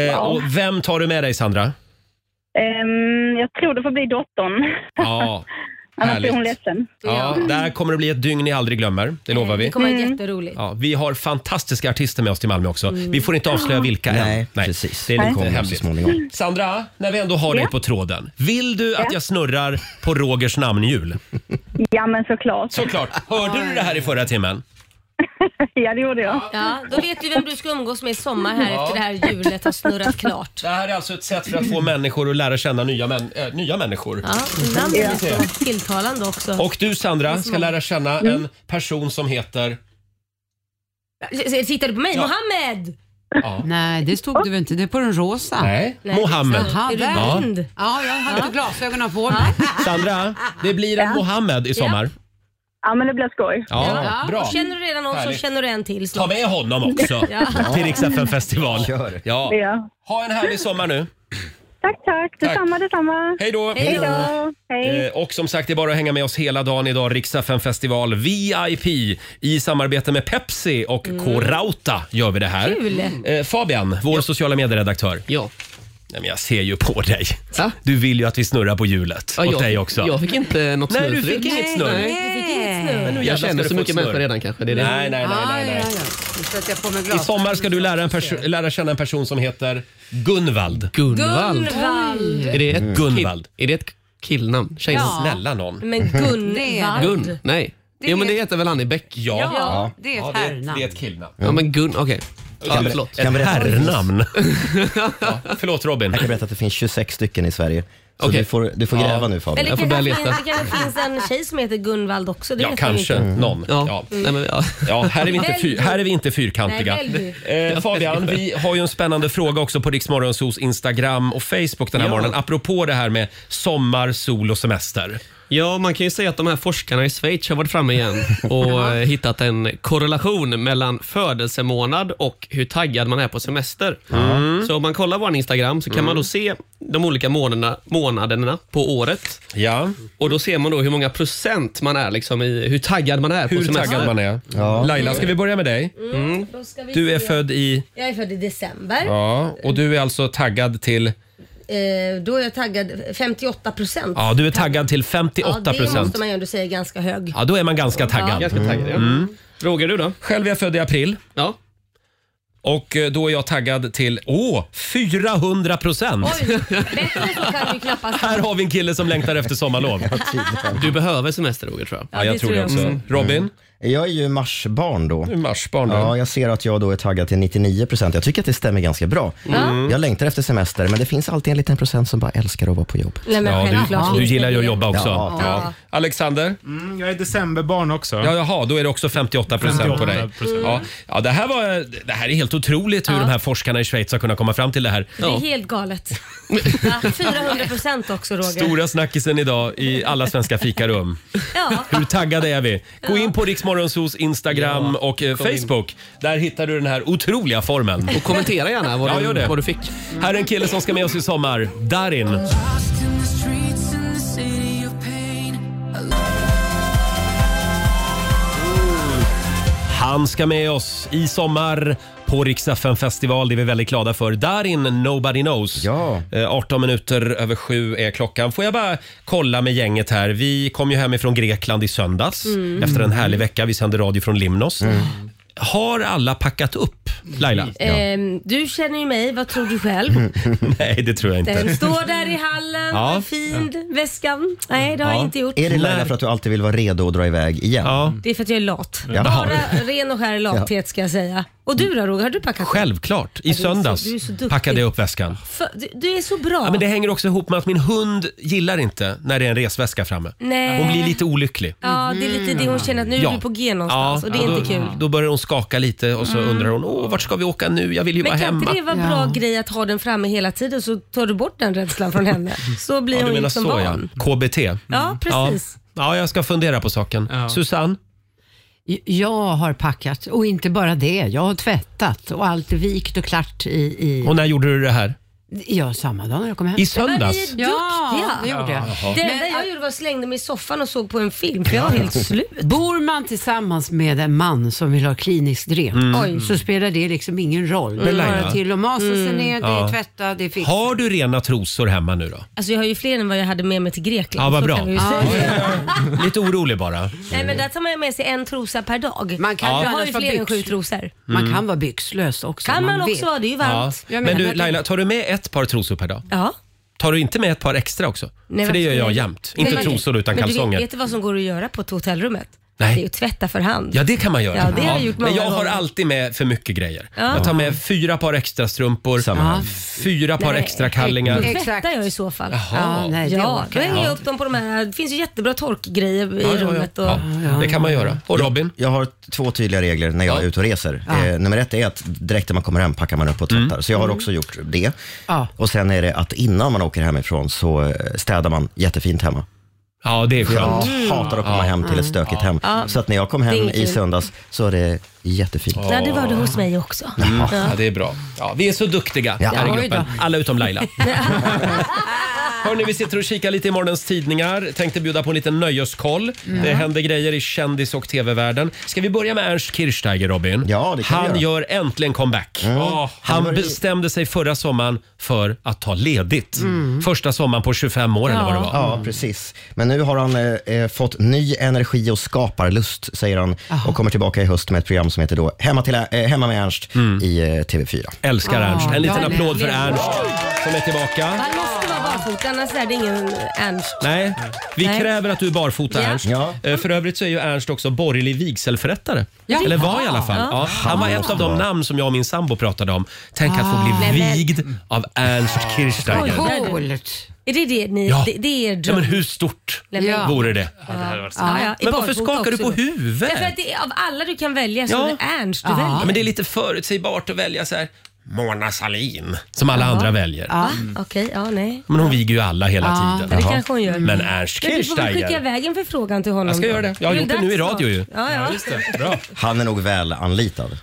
Eh, Och vem tar du med dig, Sandra? Ehm, jag tror det får bli dottern. Ja, Annars blir hon härligt. ledsen. Ja, där kommer det bli ett dygn ni aldrig glömmer. Det lovar vi. Det Mm. kommer vara jätteroligt. Ja, vi har fantastiska artister med oss till Malmö också. Mm. Vi får inte avslöja vilka Nej, än. Nej, precis. Det är Nej. lite Kommer hemligt. så småningom. Sandra, när vi ändå har Ja. dig på tråden. Vill du Ja. att jag snurrar på Rogers namnhjul? Ja, men såklart. Såklart. Hörde du det här i förra timmen? ja, det gjorde jag. Ja, då vet vi vem du ska umgås med i sommar här Ja. efter det här hjulet har snurrat klart. Det här är alltså ett sätt för att få människor att lära känna nya, män, äh, nya människor. Ja, namn är så tilltalande också. Och du Sandra ska lära känna en person som heter... Tittar du på mig? Ja. Mohammed! Ja. Nej, det stod det väl inte. Det är på den rosa. Nej, Nej, Mohammed. Jaha, Är du där. blind? Ja, jag hade inte glasögonen på mig. Sandra, det blir en Ja. Mohammed i sommar. Ja, men det blir skoj. Ja, bra. Och känner du redan någon Härligt. så känner du en till. Ta snart. med honom också Ja. till Rix FM festival. Ja. Ja. Ha en härlig sommar nu. Tack, tack. Detsamma, detsamma. Hej då. Hej då. Hej. Eh, Och som sagt, det är bara att hänga med oss hela dagen idag. Rix FM festival VIP i samarbete med Pepsi och Mm. K-Rauta gör vi det här. Kul. Eh, Fabian, vår sociala medieredaktör. Ja. Nej, men jag ser ju på dig. Du vill ju att vi snurrar på hjulet. Ja, åt jag- dig också. jag fick inte något Nej, snurr du förut. fick inget Nej, snurr. nej. Du fick inget Men nu snurr. Jag jävlar känner så ska du få mycket snurr. människor redan kanske, det är det. Nej, nej, nej. nej, nej. Ah, ja, ja. Så att jag får mig I glas. sommar ska du lära, en perso- lära känna en person som heter Gunvald. Gunvald. Gunvald. Är det Mm. ett, Gunvald. Är det ett killnamn? Tjejnamn? Ja. Snälla någon. Men Gunnvald. Gun? Nej. Det jo men är- det heter väl han i Bäck? Ja. Ja, det är ett Ja, det är ett- herrnamn. det är ett killnamn. Ja men Gun, okej. Kan Ja, ber- förlåt. ett herrnamn. ja, förlåt Robin. Jag kan berätta att det finns 26 stycken i Sverige. Så du får, du får Ja. gräva nu Men Fabian. det kanske finns, det kanske finns en tjej som heter Gunvald också. Det Ja, vet kanske Jag inte. någon. Ja. Ja. här, är vi inte fyr, här är vi inte fyrkantiga. Nej, Eh, Fabian, vi har ju en spännande fråga också på Riksmorgonsos Instagram och Facebook den här Ja. morgonen. Apropå det här med sommar, sol och semester. Ja, man kan ju säga att de här forskarna i Schweiz har varit framme igen och eh, hittat en korrelation mellan födelsemånad och hur taggad man är på semester. Mm. Så om man kollar vår Instagram så kan man då se de olika månaderna, månaderna på året. Ja. Och då ser man då hur många procent man är, liksom i, hur taggad man är på Hur semester. taggad man är. Mm. Laila, ska vi börja med dig? Mm. Då ska vi Du är se. född i... Jag är född i december. Ja, och du är alltså taggad till... Eh, då är jag taggad 58 procent. Ja, du är taggad till 58 Ja, det procent. måste man ju ändå säga är ganska hög. Ja, då är man ganska taggad. Mm. Ganska taggad, ja. Roger, du då? Själv är jag född i april. Ja. Och eh, då är jag taggad till, åh, 400 procent! Oj, bättre så kan du knappast. Här har vi en kille som längtar efter sommarlov. Du behöver semester Roger tror jag. Ja, jag tror det också. Mm. Robin? Mm. Jag är ju marsbarn då. marsbarn då. Ja, jag ser att jag då är taggad till 99 procent. Jag tycker att det stämmer ganska bra. Mm. Jag längtar efter semester, men det finns alltid en liten procent som bara älskar att vara på jobb. Nej, men Ja, självklart. du, du gillar ju att jobba också. Ja. Ja. Alexander? Mm, jag är decemberbarn också. Ja, jaha, då är det också 58 procent på dig. 58%. Ja, ja, det, här var, det här är helt otroligt hur de här forskarna i Schweiz har kunnat komma fram till det här. Det är helt galet. Ja, 400 procent också Roger. Stora snackisen idag i alla svenska fikarum. Ja. Hur taggade är vi? Gå in på Riksmorgonsos Instagram och eh, kom in. Facebook. Där hittar du den här otroliga formeln. Och kommentera gärna vad, Ja, du, gör det. vad du fick. Här är en kille som ska med oss i sommar. Darin. Han ska med oss i sommar på Riksdagen festival. Det är vi väldigt glada för. Darin Nobody Knows. Ja. 18 minuter över sju är klockan. Får jag bara kolla med gänget här. Vi kom ju hemifrån Grekland i söndags Mm. efter en härlig vecka. Vi sände radio från Limnos. Mm. Har alla packat upp, Laila? Ehm, du känner ju mig, vad tror du själv? Nej, det tror jag inte. Den står där i hallen, Ja. fin väskan. Nej, det har jag inte gjort. Är det Laila för att du alltid vill vara redo att dra iväg igen? Ja. Det är för att jag är lat. Ja. Bara ren och skär lathet Ja. ska jag säga. Och du då Roger, har du packat? Självklart. Ja, I du är så- söndags du är så duktig. packade jag upp väskan. För, du, du är så bra. Ja, men det hänger också ihop med att min hund gillar inte när det är en resväska framme. Nej. Hon blir lite olycklig. Ja, det är lite det hon känner att nu Ja. är vi på G någonstans och det är då, inte kul. Då börjar hon skaka lite och så Mm. undrar hon, åh vart ska vi åka nu? Jag vill ju Men vara kan hemma. inte det vara en bra grej att ha den framme hela tiden så tar du bort den rädslan från henne? Så blir ja, du hon menar liksom så ja. van. KBT. Ja, precis. Mm. Ja. ja, jag ska fundera på saken. Susanne? Jag har packat och inte bara det. Jag har tvättat och allt är vikt och klart i... i... Och när gjorde du det här? Ja, samma dag när jag kom hem. I söndags? Ni är duktiga. Ja, det gjorde jag. Jaha. Det Men- enda jag gjorde var att slängde mig i soffan och såg på en film för jag var helt slut. Bor man tillsammans med en man som vill ha kliniskt rent Mm. Oj. så spelar det liksom ingen roll. Men Det är Laila. bara till att masa sig Mm. ner, det Ja. är tvätta, det är fixat. Har du rena trosor hemma nu då? Alltså jag har ju fler än vad jag hade med mig till Grekland. Ja, vad så bra. kan vi ju Ja, säga. Lite orolig bara. Nej men där tar man ju med sig en trosa per dag. Man kan ju jag har annars ju vara fler än byx- sju trosor. Mm. vara byxlös också. Kan man, man också vet. vara, det är ju varmt. Ja. Men du Laila, tar du med ett par trosor per dag? Ja. Tar du inte med ett par extra också? Nej, För det gör varför jag inte? jämt. Men Inte man- trosor utan men kalsonger. Du vet, vet du vad som går att göra på ett hotellrummet? Nej. Det är ju tvätta för hand. Ja, det kan man göra. Ja, det har jag gjort Men många jag har gånger. alltid med för mycket grejer. Ja. Jag tar med fyra par extra strumpor, här. fyra par Nej, extra kallingar. Då tvättar jag i så fall. Jaha. Ja, Ja, nej, det ja, då orkar jag. hänger jag Ja. upp dem på de här. Det finns ju jättebra torkgrejer i Ja, ja, ja. rummet. Och, Mm. Ja, det kan man göra. Och Robin? Jag, jag har två tydliga regler när jag är ute och reser. Ja. Mm. Eh, nummer ett är att direkt när man kommer hem packar man upp och tvättar. Mm. Så jag har också gjort det. Ja. Och sen är det att innan man åker hemifrån så eh, städar man jättefint hemma. Ja, det är Jag skönt. hatar att komma Ja. hem till ett stökigt hem. Mm. Ja. Så att när jag kom hem Det är i kul. söndags så var det jättefint. Nej, det var det hos mig också. Mm. Ja. Ja, det är bra. Ja, vi är så duktiga här Oj i gruppen. då. Alla utom Laila. Hörni, vi sitter och kikar lite i morgons tidningar. Tänkte bjuda på en liten nöjeskoll. Mm. Det händer grejer i kändis och tv-världen. Ska vi börja med Ernst Kirchsteiger, Robin? Ja, det kan vi Han gör äntligen comeback. Ja. Han var Han i- bestämde sig förra sommaren för att ta ledigt. Första sommaren på 25 år eller vad det var. Mm. Mm. Ja, precis. Men nu har han eh, eh, fått ny energi och skaparlust, säger han. Och kommer tillbaka i höst med ett program som heter då Hemma, till, eh, Hemma med Ernst i eh, TV4. Mm. Älskar Ernst. En liten applåd för Ernst som är tillbaka. Man måste vara barfota, annars är det ingen Ernst. Nej, vi Nej. kräver att du är barfota Ja. Ernst. Eh, För övrigt så är ju Ernst också borgerlig vigselförrättare. Ja. Eller var i alla fall. Ja. Ja. Han var ett av de namn som jag och min sambo pratade om. Tänk att få Ah. bli Nej, men- Ah. vigd av Ernst Kirchsteiger. Coolt. Är det det ni... Ja. Det, det är er Ja, men dröm? hur stort Nej, men- Ja. vore det? Ja, ja, i Men varför barfota skakar du också på då. huvudet? Därför att det är av alla du kan välja så Ja. är det Ernst du Ja, väljer. men det är lite förutsägbart att välja så här Mona Sahlin som alla Ja. andra väljer. Ja, okej. ja, nej. Men hon viger ju alla Mm. hela Ja, tiden. det Jaha. kanske hon gör. Men Ernst Men du får väl skicka Kirchsteiger. iväg en förfrågan till honom. Jag ska göra det. Jag har är gjort det nu dags i snart. radio ju. Ja, ja. Bra. Han är nog väl anlitad.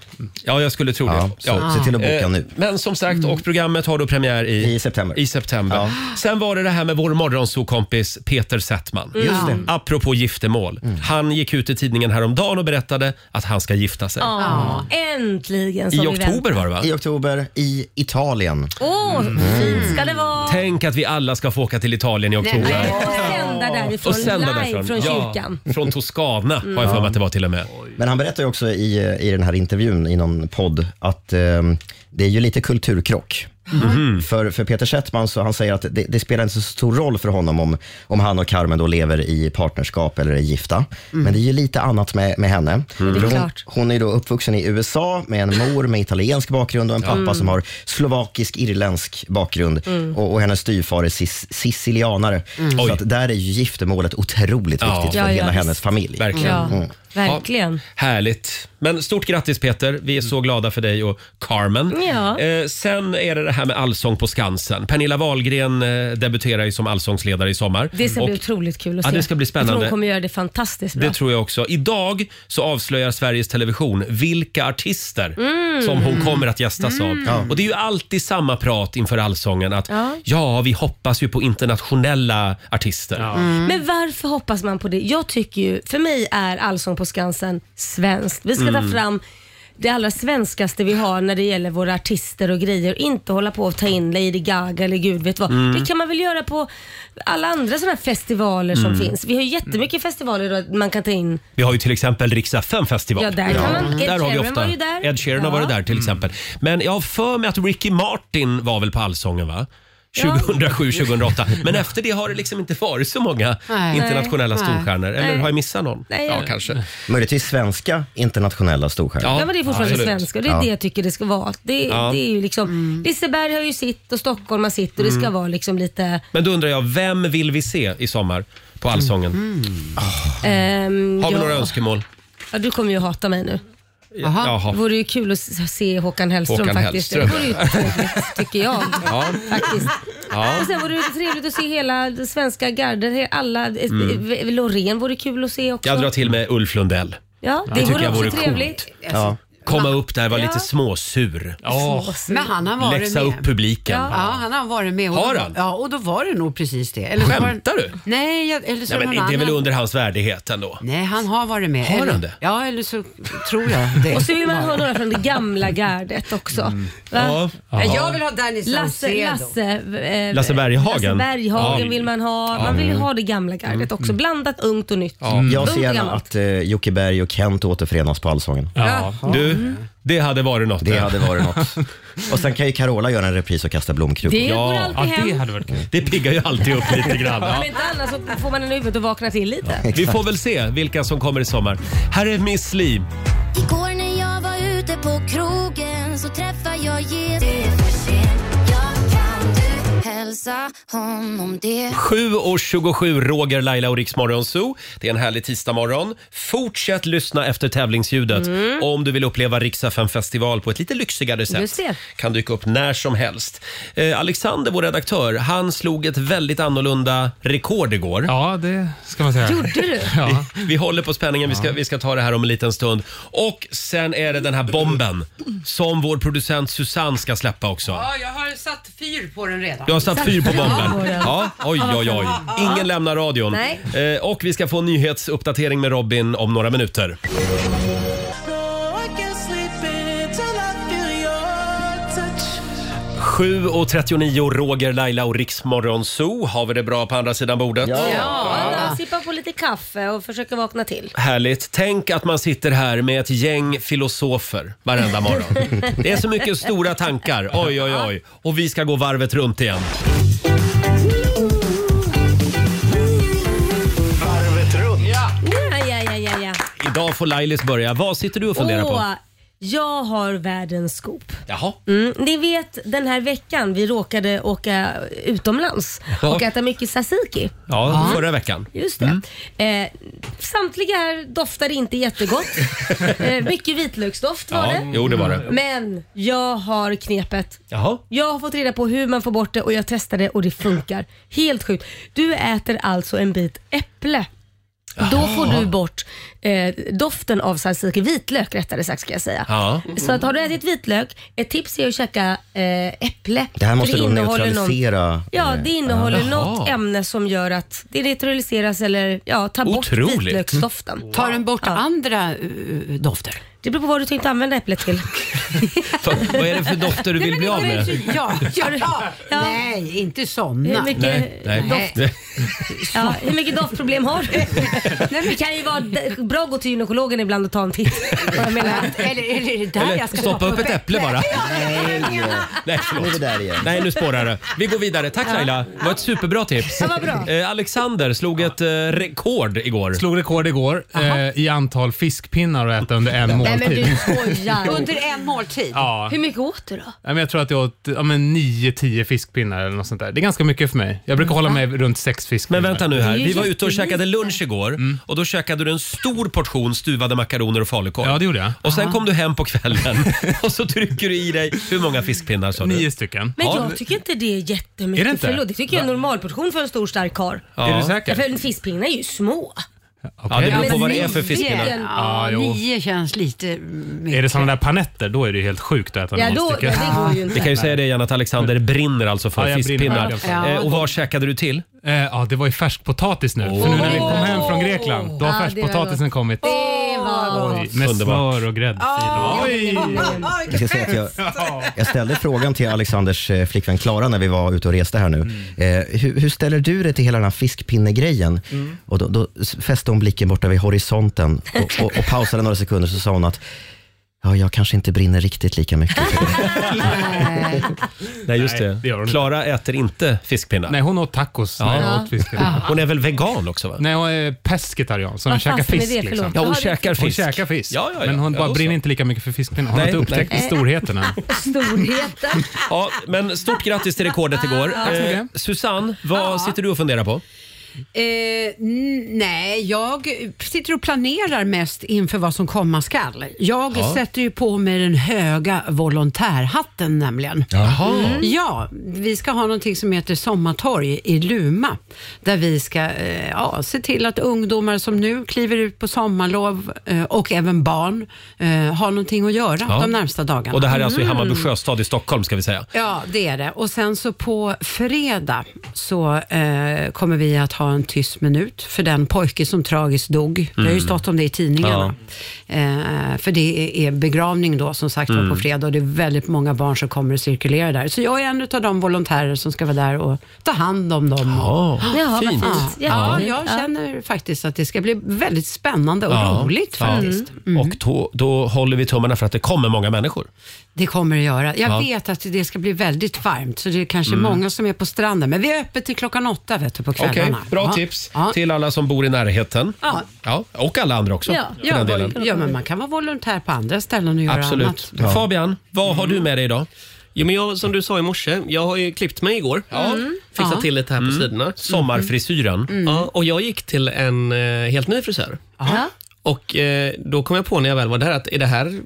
Ja, jag skulle tro Ja, det. så se till att boka Eh, nu. Men som sagt, Mm. och programmet har då premiär i, I september. i september. Sen var det det här med vår morgonsokompis Peter Settman. Mm. Just det. Mm. Apropå giftermål. Han gick ut i tidningen häromdagen och berättade att han ska gifta sig. Ja, äntligen som I vi oktober väntar. var det va? Mm. Mm. I oktober i Italien. Åh, fint ska det vara. Tänk att vi alla ska få åka till Italien i Nej, oktober. nej, och sända därifrån, Och sända live därifrån. från Ja. kyrkan. Från Toscana Mm. har jag för mig att det var till och med. Men han berättar ju också i, i den här intervjun i någon podd att eh, det är ju lite kulturkrock. Mhm. För, för Peter Settman, så han säger att det, det spelar inte så stor roll för honom om, om han och Carmen då lever i partnerskap eller är gifta. Men det är ju lite annat med, med henne. Mm. Det är För hon, klart. hon är ju då uppvuxen i USA med en mor med italiensk bakgrund och en Ja. pappa Mm. som har slovakisk-irländsk bakgrund. Mm. Och, och hennes styvfar är sis, sicilianare. Mm. Så Oj. att där är ju giftermålet otroligt Ja. viktigt Ja, för ja, hela visst. hennes familj. Verkligen. Ja, Mm. verkligen. Härligt. Men stort grattis Peter. Vi är så glada för dig och Carmen. Ja. Eh, sen är det det här med Allsång på Skansen. Pernilla Wahlgren eh, debuterar ju som allsångsledare i sommar. Det ska Och bli otroligt kul att Ja, se. det ska bli Jag tror spännande. hon kommer göra det fantastiskt bra. det tror jag också. Idag så avslöjar Sveriges Television vilka artister Mm. som hon kommer att gästas Mm. av. Och Det är ju alltid samma prat inför allsången att ja, Ja. vi hoppas ju på internationella artister. Men varför hoppas man på det? Jag tycker ju, för mig är Allsång på Skansen svenskt. Vi ska Mm. ta fram det allra svenskaste vi har när det gäller våra artister och grejer. Inte hålla på att ta in Lady Gaga eller gud vet vad. Mm. Det kan man väl göra på alla andra sådana här festivaler Mm. som finns. Vi har ju jättemycket festivaler då man kan ta in. Vi har ju till exempel Rix FM festival. Ja, där kan man- Ed Där har vi Sheeran ofta. var ju där. Ed Sheeran har Ja. varit där Mm. till exempel. Men jag har för mig att Ricky Martin var väl på Allsången va? Ja. 2007, 2008. Men efter det har det liksom inte varit så många Nej. internationella Nej. storstjärnor. Eller Nej. har jag missat någon? Nej, ja, jag- kanske. Möjligtvis svenska internationella storstjärnor. Ja, men det är fortfarande absolut. svenska och det är Ja. det jag tycker det ska vara. Det, Ja. det är ju liksom, Liseberg har ju sitt och Stockholm har sitt och det ska Mm. vara liksom lite... Men då undrar jag, vem vill vi se i sommar på Allsången? ehm, Har vi Mm. ja. några önskemål? Ja, du kommer ju hata mig nu. Jaha. Det vore ju kul att se Håkan Hellström Håkan faktiskt. Hellström, Det vore ju ja. trevligt, tycker jag. Ja. Faktiskt. Ja. Och sen vore det trevligt att se hela det svenska gardet, he- alla, Mm. eh, Loreen vore kul att se också. Jag drar till med Ulf Lundell. Ja, det vore också trevligt. Alltså, Ja. Komma upp där, vara Ja. lite småsur. Men han har varit Läxa med. upp publiken. Ja, ja, han har varit med. Och Har då- han? Ja, och då var det nog precis det. Eller så var det- Skämtar du? Nej, jag, eller så Nej, men någon det är väl annan. under hans värdighet ändå? Nej, han har varit med. Har eller, han det? Ja, eller så tror jag det. Och så vill man ha några från det gamla gardet också. Va? Mm. Ja. Ja, jag vill ha Danny Lasse, Saucedo. Lasse, eh, Lasse Berghagen. Lasse Berghagen Ja. Mm. vill man ha. Ja. Man vill ju ha det gamla gardet också. Blandat ungt och nytt. Mm. Jag Ungt ser och gärna gammalt. att eh, Jocke Berg och Kent återförenas på Allsången. Ja. Mm. Du, det hade varit något. Det hade varit något. Och sen kan ju Carola göra en repris och kasta blomkrukor. Det går alltid Ja, det hem. hade varit Det piggar ju alltid upp lite grann. Om Ja. inte annars så får man en i huvudet och vaknar till lite. Vi får väl se vilka som kommer i sommar. Här är Miss Li. Igår när jag var ute på krogen så träffade jag Jesus. Det är för sent, jag kan du hälsa honom det. 7 och 27, Roger, Laila och Riksmorgon Zoo. Det är en härlig tisdagmorgon. Fortsätt lyssna efter tävlingsljudet Mm. om du vill uppleva Rix FM festival på ett lite lyxigare sätt. Just det. Kan dyka upp när som helst. Eh, Alexander, vår redaktör, han slog ett väldigt annorlunda rekord igår. Ja, det ska man säga. Gjorde du? Ja. Vi, vi håller på spänningen. Vi ska, vi ska ta det här om en liten stund. Och sen är det den här bomben som vår producent Susanne ska släppa också. Ja, jag har satt fyr på den redan. Du har satt fyr på bomben. Ja. Ja, oj, oj, oj. Ingen lämnar radion. Nej. Eh, och vi ska få en nyhetsuppdatering med Robin om några minuter. Hej 7.39, Roger, Laila och Riksmorgon Zoo. Har vi det bra på andra sidan bordet? Ja, man sippar på lite kaffe och försöker vakna till. Härligt. Tänk att man sitter här med ett gäng filosofer varenda morgon. Det är så mycket stora tankar. Oj, oj, oj. Och vi ska gå varvet runt igen. Varvet runt. Ja, ja, ja, ja, ja. Idag får Lailis börja. Vad sitter du och funderar på? Åh, jag har världens skop. Jaha. Mm, ni vet den här veckan vi råkade åka utomlands Ja. och äta mycket tzatziki. Ja, förra veckan. Mm. Just det. Eh, samtliga här doftade inte jättegott. eh, mycket vitlöksdoft var Ja, det. jo, det var det. Men jag har knepet. Jaha. Jag har fått reda på hur man får bort det och jag testade och det funkar. Helt sjukt. Du äter alltså en bit äpple. Då får du bort eh, doften av tzatziki, vitlök rättare sagt ska jag säga. Ja. Så att har du ätit vitlök, ett tips är att käka eh, äpple. Det här måste För då innehåller någon- neutralisera... eh, Ja, det innehåller Jaha. något ämne som gör att det neutraliseras eller ja, tar bort Otroligt. vitlöksdoften. Tar den bort andra eh, dofter? Det beror på vad du tänkte använda äpplet till. Vad är det för dofter du vill bli av med? Ja, ja, ja. Nej, inte sådana. Hur mycket Nej, nej. doft? Ja, hur mycket doftproblem har du? Nej, det kan ju vara d- bra att gå till gynekologen ibland och ta en titt. Vad jag menar. Eller, eller är det där Eller jag ska stoppa upp ett äpple bara. Nej. Nej, Nu är vi förlåt. där igen. Nej, nu spårar det. Vi går vidare. Tack Laila. Det var ett superbra tips. Ja, vad bra. Eh, Alexander slog ett eh, rekord igår. Slog rekord igår eh, i antal fiskpinnar att äta under en Nej, måltid. men du skojar. Under en måltid? Ja. Hur mycket åt du då? Ja, men jag tror att jag åt ja, men 9-10 fiskpinnar eller något sånt där. Det är ganska mycket för mig. Jag brukar hålla mig runt sex fiskpinnar. Mm. Men vänta nu här. Vi var ute och käkade lunch igår och då käkade du en stor portion stuvade makaroner och falukorv. Ja, det gjorde jag. Och sen kom du hem på kvällen och så trycker du i dig, hur många fiskpinnar sa du? Nio stycken. Men jag tycker inte det är jättemycket. Är det inte? Förlåt, det tycker jag är en normalportion för en stor stark karl. Ja. Är du säker? Ja, för en fiskpinne är ju små. Ja, det beror på Men vad det är för nio. fiskpinnar. Ja, jo. Nio känns lite mm, mycket. Är det sådana där panetter, då är det ju helt sjukt att äta Ja, noll då- stycken. det går ju inte. Vi kan ju säga det igen att Alexander brinner alltså för Ja, jag brinner fiskpinnar. verkligen för det. Eh, Och vad käkade du till? Eh, ja, det var ju färskpotatis nu. För nu när vi kom hem från Grekland, då har Ja, det var färskpotatisen gott. kommit. Det var gott. Oj, Med Underbart. smör och gräddfil. Oj! Jag ska säga att jag, jag ställde frågan till Alexanders eh, flickvän Klara när vi var ute och reste här nu. Eh, hur, hur ställer du dig till hela den här fiskpinne-grejen? Och då, då s- fäste hon blicken borta vid horisonten och, och, och pausade några sekunder så sa hon att Ja, jag kanske inte brinner riktigt lika mycket. Nej, just det. Klara äter inte fiskpinnar. Nej, hon åt tacos ja. när jag åt fiskpinnar. Hon är väl vegan också? va? Nej, hon är pescetarian, så hon Vad käkar fasen är fisk. det för liksom. låt? Ja, hon Ja, det- käkar Hon fisk. käkar fisk. Ja, ja, ja. Men hon Ja, bara då brinner så. inte lika mycket för fiskpinnar. Hon har Nej, inte upptäckt nej. storheten än. Storheten. Ja, men stort grattis till rekordet igår. Eh, Tack så mycket. Susanne, vad sitter du och funderar på? Eh, n- nej, jag sitter och planerar mest inför vad som komma skall. Jag Ja. sätter ju på mig den höga volontärhatten nämligen. Jaha. Mm. Ja, vi ska ha någonting som heter Sommartorg i Luma. Där vi ska eh, ja, se till att ungdomar som nu kliver ut på sommarlov eh, och även barn eh, har någonting att göra Ja. de närmsta dagarna. Och det här är alltså i Hammarby Mm. sjöstad i Stockholm ska vi säga. Ja, det är det. Och sen så på fredag så eh, kommer vi att ha en tyst minut för den pojke som tragiskt dog. Det har ju Mm. stått om det i tidningarna. Eh, för det är begravning då som sagt var Mm. på fredag och det är väldigt många barn som kommer att cirkulera där. Så jag är en av de volontärer som ska vara där och ta hand om dem. Ja, Ja, vad fint. fint. Ja, Jättefint. jag Ja. känner faktiskt att det ska bli väldigt spännande och roligt Ja. faktiskt. Mm. Och då, då håller vi tummarna för att det kommer många människor. Det kommer det göra. Eh, Jag Ja. vet att det ska bli väldigt varmt, så det är kanske Mm. många som är på stranden. Men vi är öppet till klockan åtta vet du, på Okej, kvällarna. bra Ja. tips till alla som bor i närheten. Ja. Ja, och alla andra också. Ja, för ja, den delen. ja, men man kan vara volontär på andra ställen och göra Absolut. annat. Fabian, vad har du med dig idag? Jo, men jag, som du sa i morse, jag har ju klippt mig igår. Mm. Fixat Ja. Mm. till lite här på sidorna. Sommarfrisyren. Ja, och jag gick till en eh, helt ny frisör. Ja. Och eh, då kom jag på när jag väl var där att är det här,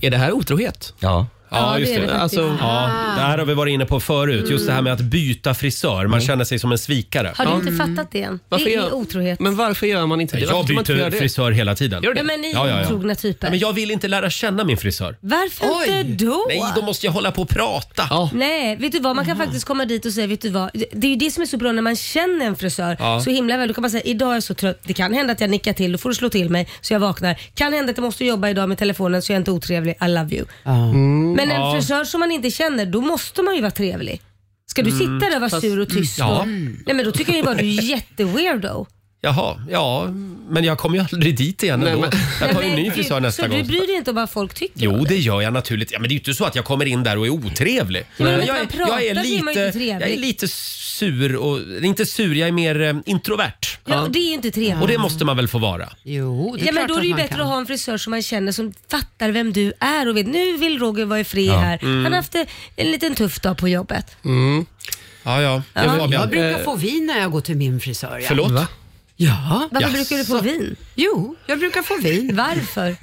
är det här otrohet? Ja. Ja, just det. Alltså, ja, Ah. det här har vi varit inne på förut. Just det här med att byta frisör. Mm. Man känner sig som en svikare. Har du inte fattat det än? Varför det är gör- otrohet. Men varför gör man inte Mm. det? Varför Jag kan man inte byter göra det? frisör hela tiden. Ja, men ni är Ja, ja, ja. otrogna typer. Ja, men jag vill inte lära känna min frisör. Varför inte då? Nej, då måste jag hålla på och prata. Nej, vet du vad? Man kan faktiskt komma dit och säga, vet du vad? Det är ju det som är så bra när man känner en frisör Ja. så himla väl. Då kan man säga, idag är jag så trött. Det kan hända att jag nickar till, då får du slå till mig så jag vaknar. Kan hända att jag måste jobba idag med telefonen så jag är inte otrevlig. I love you. Mm, Men en Ja. frisör som man inte känner, då måste man ju vara trevlig. Ska du Mm, sitta där och vara fast- sur och tyst Ja. då? Nej men då tycker jag ju bara du är jätteweirdo. Jaha, ja, men jag kommer ju aldrig dit igen Nej, ändå. men- Jag tar ju en Men ny gud, frisör nästa Så gång. du bryr dig inte om vad folk tycker? Jo, det gör jag naturligtvis. Ja, men det är ju inte så att jag kommer in där och är otrevlig. men jag, när man är, pratar jag, är så är man ju lite, inte trevlig. jag är lite sur och... Inte sur, jag är mer eh, introvert. Ja, det är ju inte trevligt. Och det måste man väl få vara? Jo, ja, men då är det ju bättre att ha en frisör som man känner som fattar vem du är och vet nu vill Roger vara i fri Ja. här. Mm. Han har haft en liten tuff dag på jobbet. Mm. Ja, ja. Ja. Fabian, Jag brukar eh, få vin när jag går till min frisör. Ja. Förlåt? Ja. Varför brukar du få vin? Jo, jag brukar få vin. Varför?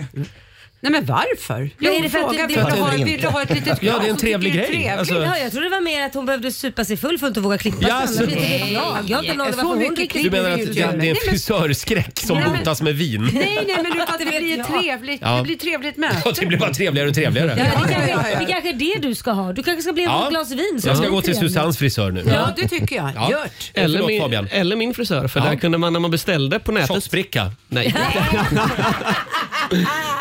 Nej, men varför? Ja, är det för att fråga, det- vill det- du ha- För att det vill du ha ett litet Ja, glas det är en så tycker trevlig du det är grej. trevligt. Alltså- Ja, jag tror det var mer att hon behövde supa sig full för att inte våga klippa sig. Ja, Annars så- vet inte jag. Jag har inte någon aning Så varför hon mycket riktigt Du vill menar att ut. det, det är en men- frisörskräck som Nej, men- botas med vin? Nej, nej, men utan det Det vet blir ett jag. trevligt, Ja. det blir ett trevligt möte. Ja, det blir bara trevligare och trevligare. Ja, det, Ja, ja, kanske, ja. det kanske är det du ska ha. Du kanske ska bli Ja. ett glas vin. så Jag ska blir det gå till trevligt. Susannes frisör nu. Ja, det tycker jag. Ja. Gör det. Eller, Förlåt, min, Fabian. eller min frisör, för Ja. där kunde man när man beställde på nätet. Shotsbricka? Nej.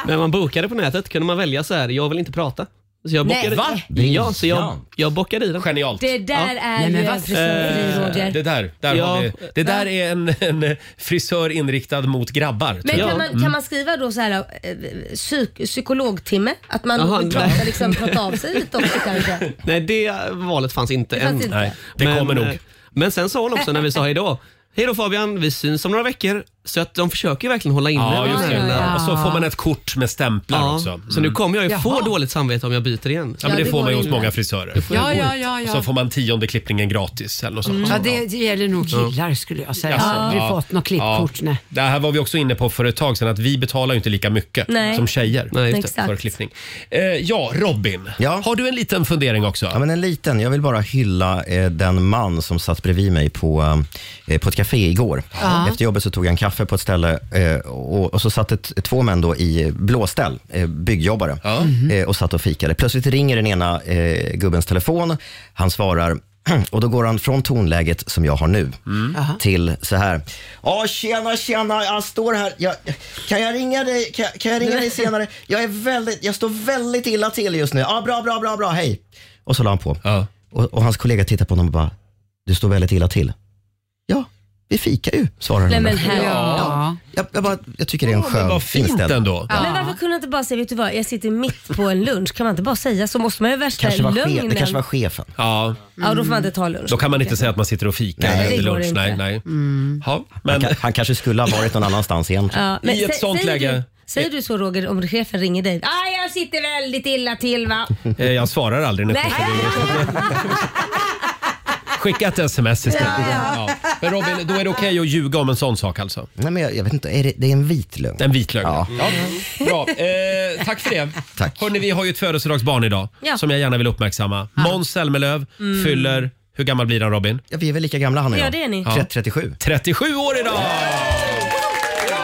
när man bokade på nätet kunde man välja så här, jag vill inte prata. Så jag Nej. bockade, Va? Ja, så jag, Ja. jag bockade i den. Genialt. Det där är ju en frisörfri Roger. Det där, där Ja. har vi. Det där är en, en eh, frisör inriktad mot grabbar. tror Men jag. Mm. kan man, kan man skriva då så här eh, psyk, psykologtimme? Att man Jaha, vill prata, nej. liksom, prata av sig lite också kanske? Nej, det valet fanns inte Det fanns än. inte. Nej, det kommer nog. eh, Men sen sa hon också när vi sa hejdå. Hej då Fabian, vi syns om några veckor. Så att de försöker ju verkligen hålla inne Ja, de just det. grejerna. Och så får man ett kort med stämplar Ja, också. Mm. Så nu kommer jag ju Jaha. få dåligt samvete om jag byter igen. Ja, men det, får man ju hos många frisörer. får jag Ja, gå ja, ut. ja, Mm. ja. Så får man tionde klippningen gratis eller något sånt. Ja, det gäller nog killar skulle jag säga. Jag har aldrig fått något klippkort. Nej. Det här var vi också inne på för ett tag sedan, att vi betalar ju inte lika mycket Nej. som tjejer Nej, just det. för Exakt. klippning. Eh, ja, Robin. Har du en liten fundering också? Ja, men en liten. Jag vill bara hylla eh, den man som satt bredvid mig på, eh, på ett café igår. Ja. Efter jobbet så tog jag en kaffe på ett ställe eh, och, och så satt ett, två män då i blåställ, eh, byggjobbare, eh, och satt och fikade. Plötsligt ringer den ena eh, gubbens telefon. Han svarar Och då går han från tonläget som jag har nu Mm. Mm. till så här. Ja, tjena, tjena, jag står här. Jag, kan jag ringa dig, kan, jag- kan jag ringa dig senare? Jag, är väldigt, jag står väldigt illa till just nu. Ja, bra, bra, bra, bra, hej. Och så la han på. Och, och hans kollega tittar på honom och bara, du står väldigt illa till. Ja, vi fikar ju, svarar han. Nej, men herre- ja. jag, jag, bara, jag tycker det är en skön vad fint inställning. ändå. Men varför kunde jag inte bara säga, vet du vad, jag sitter mitt på en lunch. Kan man inte bara säga så? Måste man ju värsta Kanske var chef- det lögnen. kanske var chefen. Ja. Ja, då får man inte ta lunch. Då kan man inte säga att man sitter och fikar Nej. efter Det går lunch. inte. Nej, nej. Mm. Ja, men... han, kanske skulle ha varit någon annanstans egentligen. Ja, men I ett sä- sånt säger läge- Du, säger du så Roger om chefen ringer dig? Ah, jag sitter väldigt illa till va? Eh, Jag svarar aldrig när chefen ringer. Skicka ett sms istället. Ja. Men Robin, då är det okej att ljuga om en sån sak alltså? Nej, men jag, jag vet inte. Är det, det är en vit lögn. En vit lögn. Ja. Bra. Eh, tack för det. Tack. Hörrni, vi har ju ett födelsedagsbarn idag Ja. som jag gärna vill uppmärksamma. Måns Zelmerlöw Mm. fyller, hur gammal blir han Robin? Ja, vi är väl lika gamla han och Ja, jag. det är ni. 37. 37 år idag! Ja!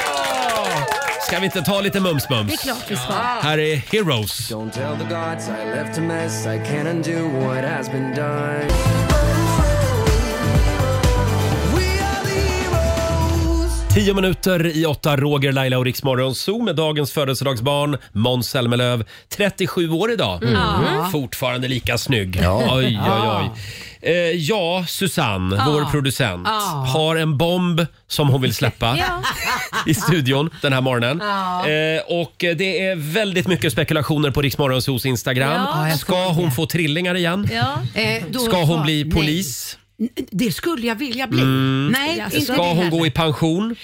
Ska vi inte ta lite mums-mums? Det är klart vi ska. Här är Heroes. Don't tell the gods I left a mess. I can't undo what has been done. Tio minuter i åtta, Roger, Laila och Riksmorgon Zoo med dagens födelsedagsbarn Måns Zelmerlöw. 37 år idag. Mm. Ja. Fortfarande lika snygg. Ja. Oj, oj, Ja. oj. Eh, ja, Susanne, Ja. vår producent, Ja. har en bomb som hon vill släppa i studion den här morgonen. Ja. Eh, och eh, det är väldigt mycket spekulationer på Riksmorgon Zoos Instagram. Ja. Ja, jag Ska hon få trillingar igen? Eh, då- Ska hon bli Nej. polis? N- Det skulle jag vilja bli. Mm. Nej, inte det Ska hon heller. gå i pension?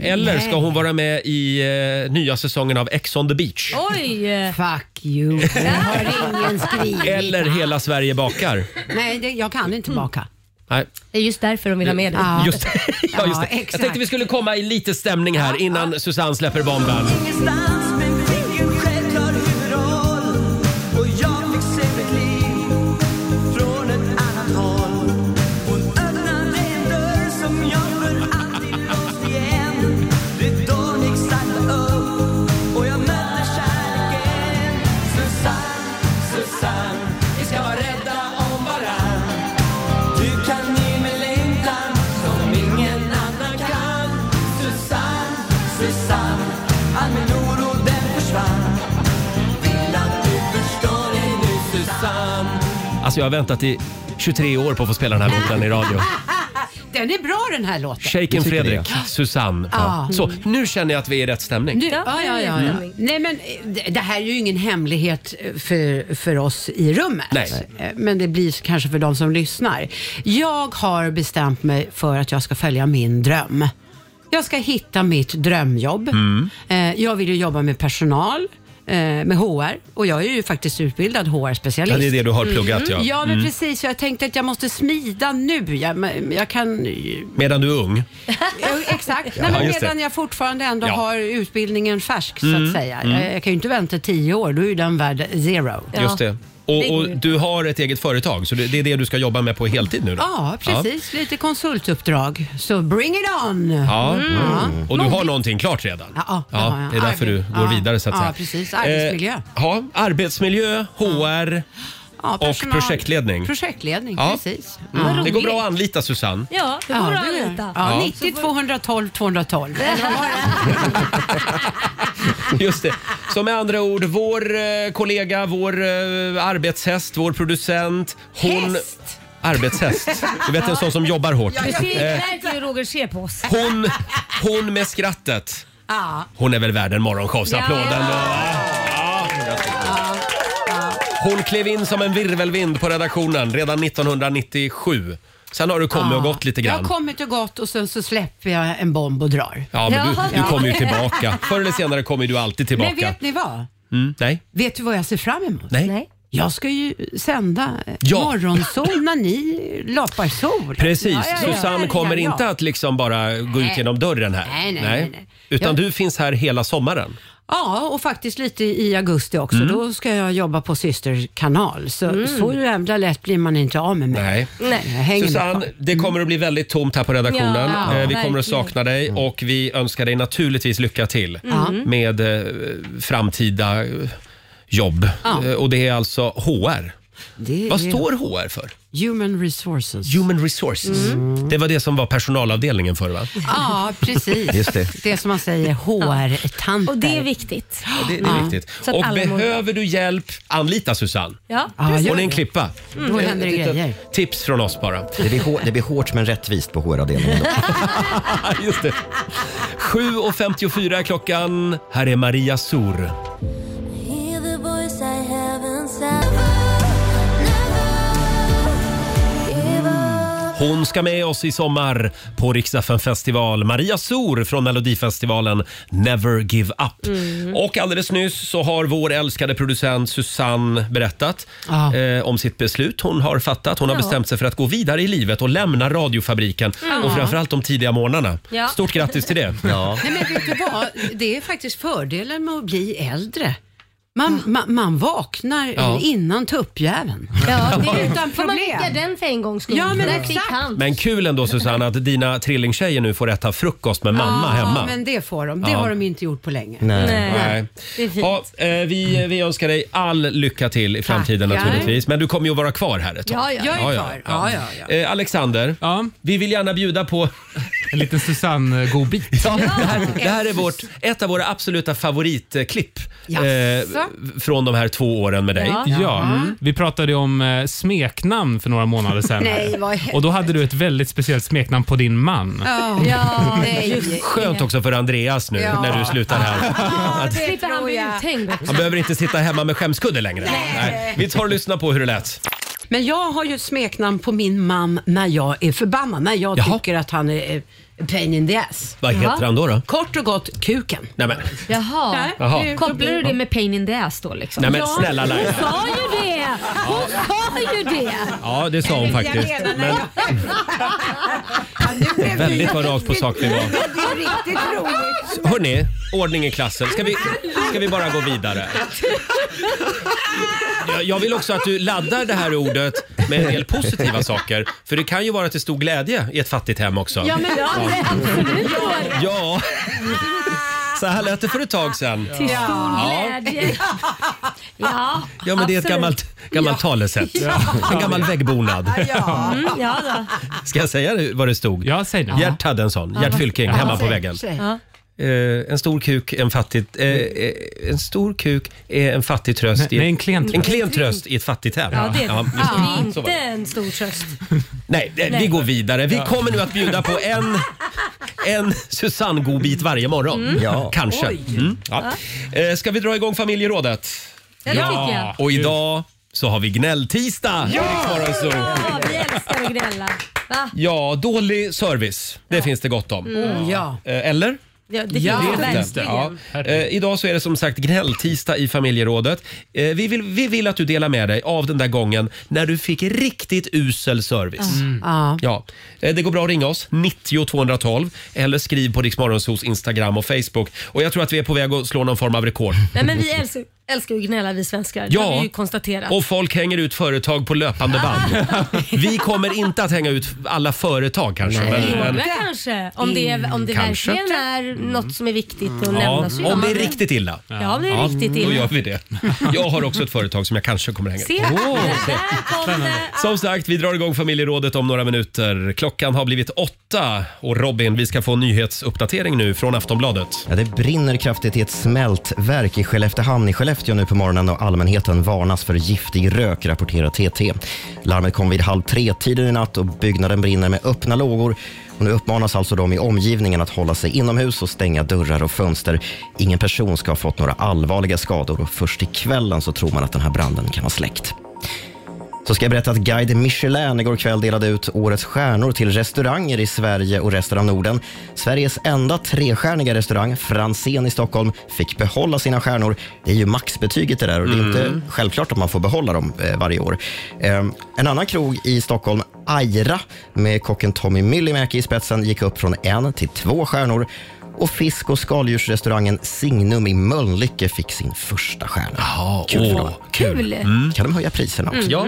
Eller ska Nej. hon vara med i eh, nya säsongen av Ex on the beach? Oj! Fuck you. Jag har ingen skrivit. Eller Hela Sverige bakar? Nej, det, jag kan inte baka. Nej. Mm. Det är just därför de vill ha med dig. Just, ja, just Ja, det. Jag exakt. tänkte vi skulle komma i lite stämning här innan Susanne släpper bomben. Du kan ge mig längtan som ingen annan kan Susanne, Susanne, all min oro den försvann Vill att du förstår dig nu Susanne Alltså jag har väntat i 23 år på att få spela den här låten i radio. Den är bra den här låten. Shaken Fredrik, Susanne. Ja. Så, nu känner jag att vi är i rätt stämning. Ah. Nu, Mm. ja, ja, ja, ja. Nej, men, eh, det- det här är ju ingen hemlighet eh, för, för oss i rummet. Nej. Eh, Men det blir kanske för de som lyssnar. Jag har bestämt mig för att jag ska följa min dröm. Jag ska hitta mitt drömjobb. Mm. Eh, Jag vill ju jobba med personal, eh, med HR och jag är ju faktiskt utbildad HR-specialist. Ja, det är det du har pluggat, ja. Ja, men Mm. precis. Så Jag tänkte att jag måste smida nu. Jag, men jag kan... Medan du är ung. Ja, Exakt. Ja, Nej, men just det. medan jag fortfarande ändå Ja. har utbildningen färsk så Mm, att säga. mm. Jag, jag kan ju inte vänta tio år, då är ju den värd zero. Just det. Och, och du har ett eget företag, så det, det är det du ska jobba med på heltid nu då? Ja, precis. Lite konsultuppdrag. Så bring it on! Ja. Mm. Mm. Och du har någonting klart redan? Ja, det har jag. det är därför du Arbe- går ja. vidare så att Ja, säga. precis. Arbetsmiljö. Eh, ja, arbetsmiljö, HR Ja, och personal- projektledning. Projektledning, Ja. precis. Mm. Vad Det går roligt. bra att anlita Susanne. Ja, det går att gör. anlita. Ja, Ja. 90 212 212. Just det. Så med andra ord, vår eh, kollega, vår eh, arbetshäst, vår producent. Hon... Häst? Arbetshäst. Du vet en sån som jobbar hårt. Du ser ju Eh, verkligen hur Roger ser på oss. Hon, hon med skrattet. Ja. Hon är väl värd en morgonshowsapplåd Ja. ändå? va? Hon klev in som en virvelvind på redaktionen redan 1997. Sen har du kommit och gått lite Jag har grann. kommit och gått och sen så släpper jag en bomb och drar. Ja, men du, du kommer ju tillbaka. Förr eller senare kommer du alltid Men tillbaka. vet ni vad? Mm, nej. Vet du vad jag ser fram emot? Nej. Nej. Jag ska ju sända eh, Ja. morgonsol när ni lapar sol. Precis, Ja, ja, ja. Susanne kommer Ja, ja. inte att liksom bara gå ut Nej. genom dörren här. Nej, nej, nej, nej. Utan Jag- du finns här hela sommaren. Ja, och faktiskt lite i augusti också. Mm. Då ska jag jobba på systerkanal. Så, Mm. så jävla lätt blir man inte av med mig. Nej. Jag hänger med Susanne, kvar. det kommer att bli väldigt tomt här på redaktionen. Ja, Eh, vi kommer verkligen. att sakna dig och vi önskar dig naturligtvis lycka till Mm. med eh, framtida eh, jobb. Ja. Eh, och det är alltså HR. Det Vad är- står HR för? Human resources. Human resources. Mm. Det var det som var personalavdelningen förr va? Ja, precis. Just det. som man säger, HR-tanter. Och det är viktigt. Det, det är viktigt. Så att Och alla mår- behöver du hjälp, anlita Susanne. Ja, Hon precis. är en klippa. Mm. Då händer det Titta, grejer. Tips från oss bara. Det blir, hår, det blir hårt men rättvist på HR-avdelningen. Just det. 7.54 är klockan. Här är Maria Sur. Hear the voice I have Hon ska med oss i sommar på Riksdagen festival. Maria Sor från Melodifestivalen Never Give Up. Mm. Och alldeles nyss så har vår älskade producent Susanne berättat eh, om sitt beslut hon har fattat. Hon har Ja. bestämt sig för att gå vidare i livet och lämna radiofabriken Ja. och framförallt de tidiga morgnarna. Ja. Stort grattis till det. Nej, men vet du vad? Det är faktiskt fördelen med att bli äldre. Man, man, man vaknar Ja. innan tuppjäveln. Ja, det är utan Får man problem. nicka den för en gångs skull? Ja, men Där exakt. fick han. Men kul ändå Susanne att dina trillingtjejer nu får äta frukost med mamma ja, hemma. men det får de. Det Ja. har de inte gjort på länge. Nej. Nej. Det är fint. Ja, eh, vi, vi önskar dig all lycka till i framtiden Tackar. naturligtvis. Men du kommer ju att vara kvar här ett tag. Ja, ja. Jag är kvar. Ja, ja, Eh, Alexander, vi vill gärna bjuda på... En liten Susanne-godbit. Ja, det, här, det här är vårt, ett av våra absoluta favoritklipp Eh, Jaså? från de här två åren med dig. Ja. Mm. Vi pratade ju om eh, smeknamn för några månader sedan. Nej, vad i och då hade du ett väldigt speciellt smeknamn på din man. Ja. Nej. Skönt också för Andreas nu Ja. när du slutar här. Ja, Att- Slipper han bli uthängd också. han behöver inte sitta hemma med skämskudde längre. Nej. Vi tar och lyssnar på hur det lät. Men jag har ju ett smeknamn på min man när jag är förbannad. När jag tycker att han är eh, pain in the ass. Vad heter han då då? Kort och gott, Kuken. Nej, men. Jaha. Jaha. det- Kopplar du det med pain in the ass då liksom? Nej, men snälla Laila. Hon sa ju det! Hon sa ju det! Ja, det sa hon faktiskt. Men väldigt vad rakt på sak vi var. Det är riktigt roligt. Hörni, ordning i klassen. Ska vi, ska vi bara gå vidare? Jag- Jag vill också att du laddar det här ordet med en del positiva saker. För det kan ju vara till stor glädje i ett fattigt hem också. Ja, men ja, absolut. Ja. Så här lät det för ett tag sedan. Till stor Ja, glädje. Ja, ja men det är ett absolut. gammalt, gammalt talesätt. Ja. En gammal väggbonad. Mm, ja då. Ska jag säga det- vad det stod? Ja, säg det. Gert hade en sån. Gert Fylking, hemma på väggen. Ja. Eh, en stor kuk, en fattig... Eh, eh, en stor kuk är en fattig tröst. Nej, nej, en klen tröst. En klen tröst i ett fattigt hem. Ja, det är Ja, det. just det. Ja, Så inte var det. en stor tröst. Nej, det- vi Nej. går vidare. Vi Ja. kommer nu att bjuda på en, en Susanne godbit varje morgon. Mm. Ja. Kanske. Oj. Mm, ja. Eh, ska vi dra igång familjerådet? Ja, det tycker jag. Och idag så har vi gnälltisdag. Ja! Ja! Ja, vi älskar att gnälla. Va? ja, dålig service. Det finns det gott om. Mm. Ja. Eh, Eller? Ja, det ja, vet inte. Ja. verkligen. Eh, idag så är det som sagt gnälltisdag i familjerådet. Eh, vi, vill, vi vill att du delar med dig av den där gången när du fick riktigt usel service. Mm. Ja. Ja. Eh, det går bra att ringa oss, 90 212 eller skriv på Riksmorgonsos Instagram och Facebook. Och jag tror att vi är på väg att slå någon form av rekord. Nej, men vi älskar, älskar att gnälla vi svenskar. Det Ja. har vi ju konstaterat. Och folk hänger ut företag på löpande band. Vi kommer inte att hänga ut alla företag kanske. Några kanske, om det, är- om det Mm, Kanske. Mm. verkligen är något som är viktigt att Ja, nämna. så gör om det man är riktigt illa. Ja, om det är riktigt Då illa. gör vi det. Jag har också ett företag som jag kanske kommer hänga Se, ut. där kom det. Som sagt, vi drar igång familjerådet om några minuter. Klockan har blivit åtta och Robin, vi ska få en nyhetsuppdatering nu från Aftonbladet. Ja, det brinner kraftigt i ett smältverk i Skelleftehamn i Skellefteå nu på morgonen och allmänheten varnas för giftig rök, rapporterar TT. Larmet kom vid halv tre-tiden i natt och byggnaden brinner med öppna lågor. Och nu uppmanas alltså de i omgivningen att hålla sig inomhus och stänga dörrar och fönster. Ingen person ska ha fått några allvarliga skador och först i kvällen så tror man att den här branden kan ha släckt. Så ska jag berätta att guide Michelin igår kväll delade ut årets stjärnor till restauranger i Sverige och resten av Norden. Sveriges enda trestjärniga restaurang, Franzén i Stockholm, fick behålla sina stjärnor. Det är ju maxbetyget det där och det är Mm. inte självklart att man får behålla dem eh, varje år. Eh, en annan krog i Stockholm, Aira, med kocken Tommy Myllymäki i spetsen, gick upp från en till två stjärnor. Och fisk och skaldjursrestaurangen Signum i Mölnlycke fick sin första stjärna. Kul för åh, dem. kul. Mm. Kan de höja priserna också? Ja.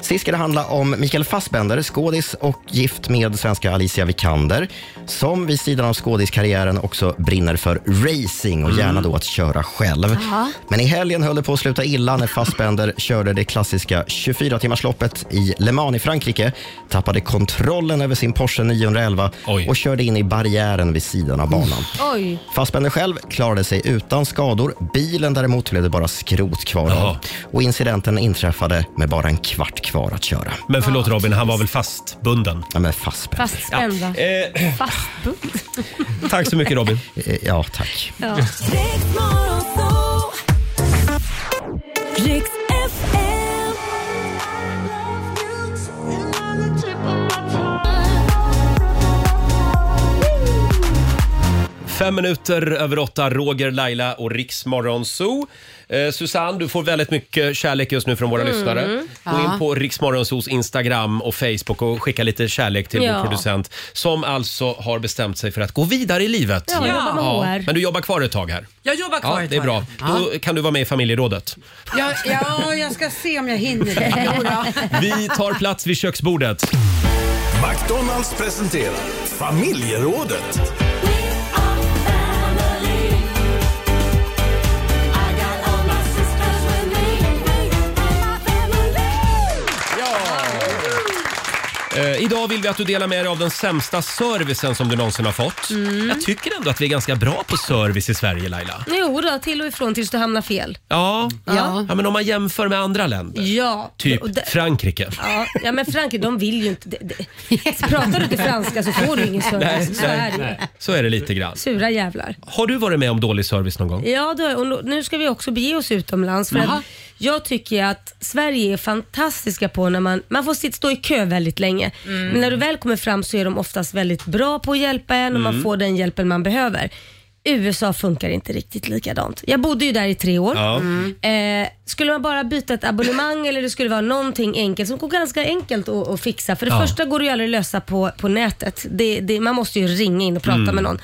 Sist ska det handla om Mikael Fassbender, skådis och gift med svenska Alicia Vikander, som vid sidan av skådiskarriären också brinner för racing och gärna då att köra själv. Ja. Men i helgen höll det på att sluta illa när Fassbender körde det klassiska 24-timmarsloppet i Le Mans i Frankrike, tappade kontrollen över sin Porsche 911 och körde in i barriären vid sidan av banan. Oj. Fassbender själv klarade sig utan skador. Bilen däremot blev det bara skrot kvar av. Och incidenten inträffade med bara en kvart kvar att köra. Men förlåt Robin, han var väl fastbunden? Ja, men fastbunden. Fastspända. Fastbund. Eh, Tack så mycket Robin. Eh, Ja, tack. Ja. Riks FM. Fem minuter över åtta, Roger, Laila och Riksmorgon Zoo. Eh, Susanne, du får väldigt mycket kärlek just nu från våra Mm. lyssnare. Gå Ja. in på Riksmorgonsos Instagram och Facebook och skicka lite kärlek till Ja. vår producent som alltså har bestämt sig för att gå vidare i livet. Ja, jag jobbar med HR. Men du jobbar kvar ett tag här. Jag jobbar kvar ja, ett Det är tag, bra. ja. Då kan du vara med i familjerådet. Ja, ja, jag ska se om jag hinner det. Jo då. Vi tar plats vid köksbordet. McDonalds presenterar familjerådet. Eh, idag vill vi att du delar med dig av den sämsta servicen som du någonsin har fått. Mm. Jag tycker ändå att vi är ganska bra på service i Sverige, Laila. Jo då, till och ifrån tills du hamnar fel. Ja, Ja. ja. men om man jämför med andra länder. Ja. Och Typ det- Frankrike. Ja, ja men Frankrike de vill ju inte... Det, det. Pratar du inte franska så får du ingen Nej, service. Så är det. ju. nej, så är det lite grann. Sura jävlar. Har du varit med om dålig service någon gång? Ja, då, och nu- nu ska vi också bege oss utomlands. För Jaha. att jag tycker att Sverige är fantastiska på när man, man får sitt, stå i kö väldigt länge. Mm. Men när du väl kommer fram så är de oftast väldigt bra på att hjälpa en och man Mm. får den hjälpen man behöver. USA funkar inte riktigt likadant. Jag bodde ju där i tre år. Ja. Mm. Eh, skulle man bara byta ett abonnemang eller det skulle vara någonting enkelt som går ganska enkelt att, att fixa. För det Ja. första går det ju aldrig att lösa på, på nätet. Det, det, man måste ju ringa in och prata Mm. med någon.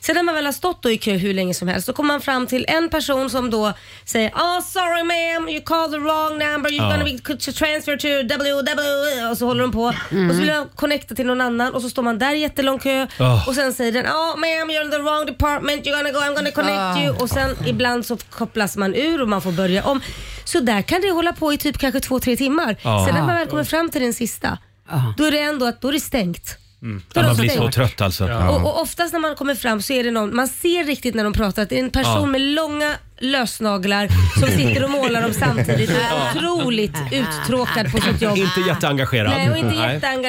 Sen när man väl har stått då i kö hur länge som helst, då kommer man fram till en person som då säger oh, “Sorry ma'am, you called the wrong number, you're Ja. gonna be to transfer to www” och så håller de på. Och så vill man connecta till någon annan och så står man där i jättelång kö Oh. och sen säger den “Oh ma'am, you're in the wrong department, you're gonna go, I'm gonna connect Ah. you” och sen ibland så kopplas man ur och man får börja om. Så där kan det hålla på i typ kanske två, tre timmar. Ja. Sen när man väl kommer fram till den sista, då är det ändå att då är det stängt. Ja, man blir så Stängt. trött alltså. Och, och oftast när man kommer fram så är det någon, man ser riktigt när de pratar att det är en person Ja. med långa lösnaglar som sitter och målar dem samtidigt och är Ja. otroligt uttråkad på sitt jobb. Inte jätteengagerad. Nej, och inte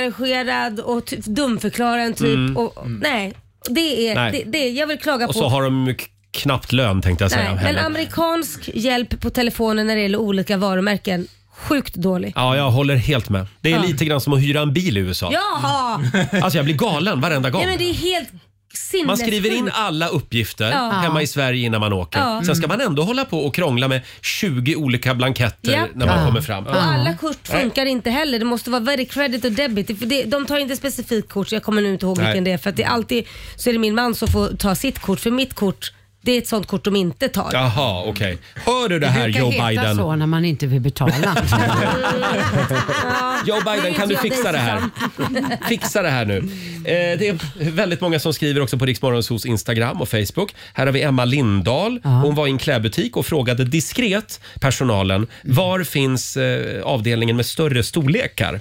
jätteengagerad och ty- dumförklarar en typ. Mm. Och, och- nej, det är, Nej. Det, det, jag vill klaga Och på. så har de ju k- knappt lön tänkte jag säga. nej, men heller. amerikansk hjälp på telefonen när det gäller olika varumärken, sjukt dålig. Ja, jag håller helt med. Det är Ja. lite grann som att hyra en bil i USA. Jaha! Alltså jag blir galen varenda gång. Nej, men det är helt sinnessjukt. Man skriver in alla uppgifter Ja. hemma i Sverige innan man åker. Ja. Mm. Sen ska man ändå hålla på och krångla med 20 olika blanketter Ja. när man Ja. kommer fram. Och alla kort funkar inte heller. Det måste vara very credit och debit. För det, de tar inte specifikt kort, så jag kommer nu inte ihåg Nej. vilken det är. För att det är alltid så är det min man som får ta sitt kort, för mitt kort det är ett sånt kort de inte tar. Jaha, okej. Hör du det Det här brukar Joe heta Biden? så när man inte vill betala. Joe Biden, kan du fixa det här? Fixa det här nu. Eh, det är väldigt många som skriver också på Riksmorgonsos Instagram och Facebook. Här har vi Emma Lindahl. Hon var i en klädbutik och frågade diskret personalen Mm. var finns eh, avdelningen med större storlekar.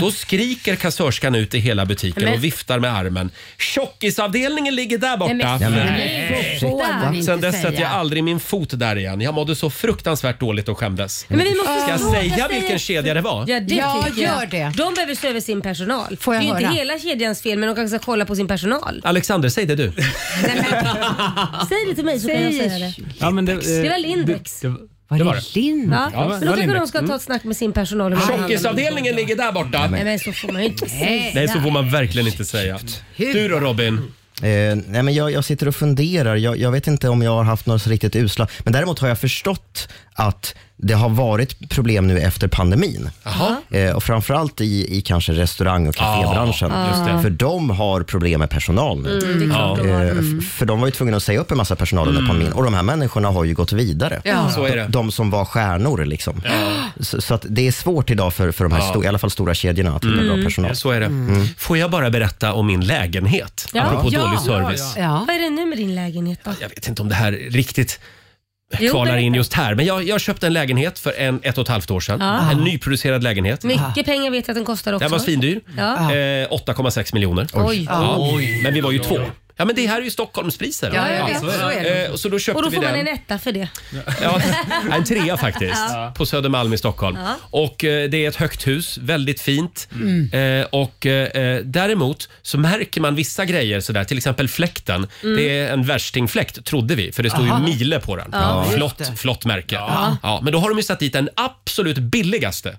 Då skriker kassörskan ut i hela butiken Men- och viftar med armen. Tjockisavdelningen ligger där borta. Nej, men- Nej, så får man inte Sen dess säga. sätter jag aldrig min fot där igen. Jag mådde så fruktansvärt dåligt och skämdes. Men vi måste Ska våga jag säga säga- vilken kedja det var? Ja, det Ja, tycker gör jag. De behöver se över sin personal. Får jag det är ju höra? inte hela kedjans fel, men de kanske ska kolla på sin personal. Alexander, säg det du. Säg det till mig så kan jag Säg- Mm. säga det. Ja, men Det var Lindex. Det, var det, Ja, Ja, men det var Mm. då kanske de Lindex. ska ta ett snack med sin personal. hur man behandlar dem. Tjockisavdelningen ligger där borta. Nej men så får man ju inte säga. Nej, så får man verkligen inte säga. Du då Robin? Eh, nej men jag, jag sitter och funderar. Jag, jag vet inte om jag har haft några så riktigt usla. Men däremot har jag förstått att det har varit problem nu efter pandemin. Jaha. Eh, och framförallt i, i kanske restaurang och kafébranschen. Ah, just det. För de har problem med personal nu. Mm, det är klart de har. Eh, f- Mm. För de var ju tvungna att säga upp en massa personal under Mm. pandemin och de här människorna har ju gått vidare. Ja. Så är det. De, de som var stjärnor liksom. Så, så att det är svårt idag för, för de här, Ja. sto, i alla fall stora kedjorna att hitta Mm. bra personal. Så är det. Mm. Får jag bara berätta om min lägenhet? Ja. Apropå Ja. dålig service. Vad är det nu med din lägenhet då? jag vet inte om det här riktigt Jo, kvalar berätta. in just här. Men jag, jag köpte en lägenhet för en, ett och ett halvt år sedan. Ja. En nyproducerad lägenhet. Mycket pengar vet jag att den kostar också. Den var svindyr. Ja. Eh, 8,6 miljoner. Oj. Ja. Oj. Men vi var ju två. Ja, men det här är ju Stockholmspriser. Ja, jag vet. så, Så är det. Eh, och så då köpte Och då vi får man den. en etta för det. Ja, en trea faktiskt. Ja. På Södermalm i Stockholm. Ja. Och eh, det är ett högt hus, väldigt fint. Mm. Eh, och eh, däremot så märker man vissa grejer sådär, till exempel fläkten. Mm. Det är en värstingfläkt trodde vi, för det står ju Aha. Miele på den. Ja, just Flott, det. flott märke. Ja. Ja. men då har de ju satt dit den absolut billigaste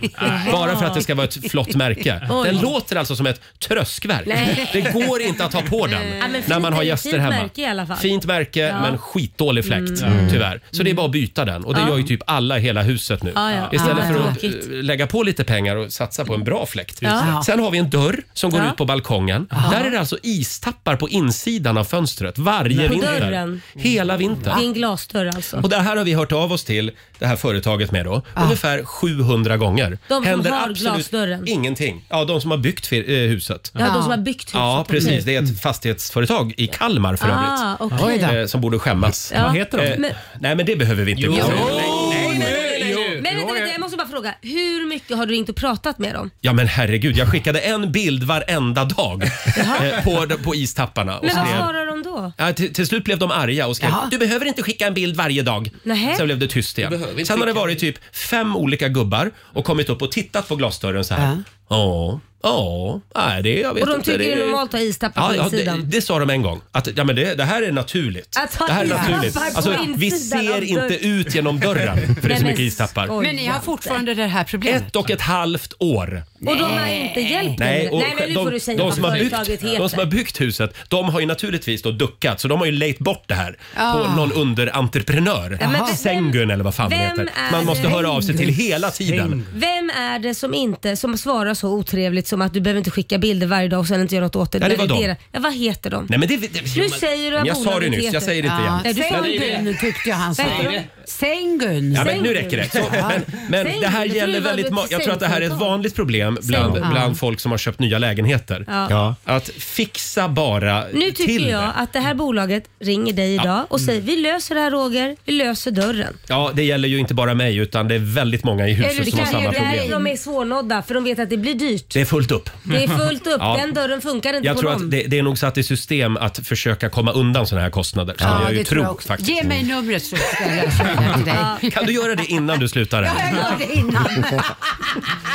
Nej. Bara för att det ska vara ett flott märke. Oj. Den låter alltså som ett tröskverk. Nej. Det går inte att ha på den Ja, men när fint- man har fint gäster hemma. märke i alla fall. Fint märke Ja. men skitdålig fläkt Mm. tyvärr. Så det är bara att byta den och det Ja. gör ju typ alla i hela huset nu. Ja, ja. Istället Ja, för att eh, tråkigt. lägga på lite pengar och satsa på en bra fläkt. Just det. Ja. Sen har vi en dörr som går Ja. ut på balkongen. Där är det alltså istappar på insidan av fönstret varje På vinter. dörren. Hela Det vintern. är en glasdörr alltså. Ah. Och det här har vi hört av oss till det här företaget med då. Ungefär 700 gånger. De som Händer har absolut glasdörren. ingenting. Ja, de som har byggt fir- eh, huset. Ja, de som har byggt huset. Ja, Okej. Mm. precis. Det är ett fastighetsföretag i Kalmar för övrigt. Ah, okej. Oj då. Eh, Som borde skämmas. Ja. Vad heter de? Eh, Men- Nej, men det behöver vi inte Jo. gå in på. Jo. Nej, nej, nej, nej, Men nej. vänta, vänta, jag måste bara fråga. Hur mycket har du inte pratat med dem? Ja men herregud, jag skickade en bild varenda dag eh, på, på istapparna. Och Men vad skrev, svarar de då? ja, till, till slut blev de arga och skrev Jaha. “Du behöver inte skicka en bild varje dag”. Nähä. Sen blev det tyst igen. behöver inte Sen har det skicka. varit typ fem olika gubbar och kommit upp och tittat på glasdörren så här. Ja, ja, nej det jag vet Och de inte. tycker det är normalt att ha istappar på det, insidan. det sa de en gång. Att ja, men det, det här är naturligt. Att ha det här är istappar naturligt. på Alltså, vi insidan av ser dörren. inte ut genom dörren för det är Nej, så men mycket istappar. Men ni har fortfarande det här problemet? Ett och ett halvt år. Och de har inte hjälpt Nej, dig? och Nej, men nu de, får du säga de, vad som har företaget byggt, heter. de som har byggt huset, de har ju naturligtvis då duckat, så de har ju lejt bort det här på Ah. någon underentreprenörr. Ja, men Jaha. vem- Sengun eller vad fan det vem heter. är Man måste det? höra av sig till hela tiden. Vem är det som inte som svarar så otrevligt som att du behöver inte skicka bilder varje dag och sen inte göra något åt det? Ja, det var När de. deras- ja, vad heter de? Nej, men det, det, Nu säger du vad Jag sa det bolaget nyss, heter. jag säger det inte igen. Nej, du sa inte det. Sängun tyckte jag han sa. Vad heter de? Sängun. Ja, men nu räcker det. Så, men men det här Säng, det tror gäller jag var väldigt ett ma- Jag tror att det här är ett sängföretag. vanligt problem bland, Säng. bland folk som har köpt nya lägenheter. Ja. Att fixa bara Nu tycker till jag det. Mm. att det här bolaget ringer dig idag och säger vi löser det här Roger, vi löser dörren. Ja, det gäller ju inte bara mig utan det är väldigt många i Eller huset det som har kanske samma är problem. där de är svårnådda för de vet att det blir dyrt. Det är fullt upp. Det är fullt upp, Ja. den dörren funkar inte Jag på tror dem. att det, det är nog satt i system att försöka komma undan sådana här kostnader. skulle jag ju tro, faktiskt. Ge mig numret så ska jag läsa det här till dig. Kan du göra det innan du slutar? Ja, här? jag gör det innan.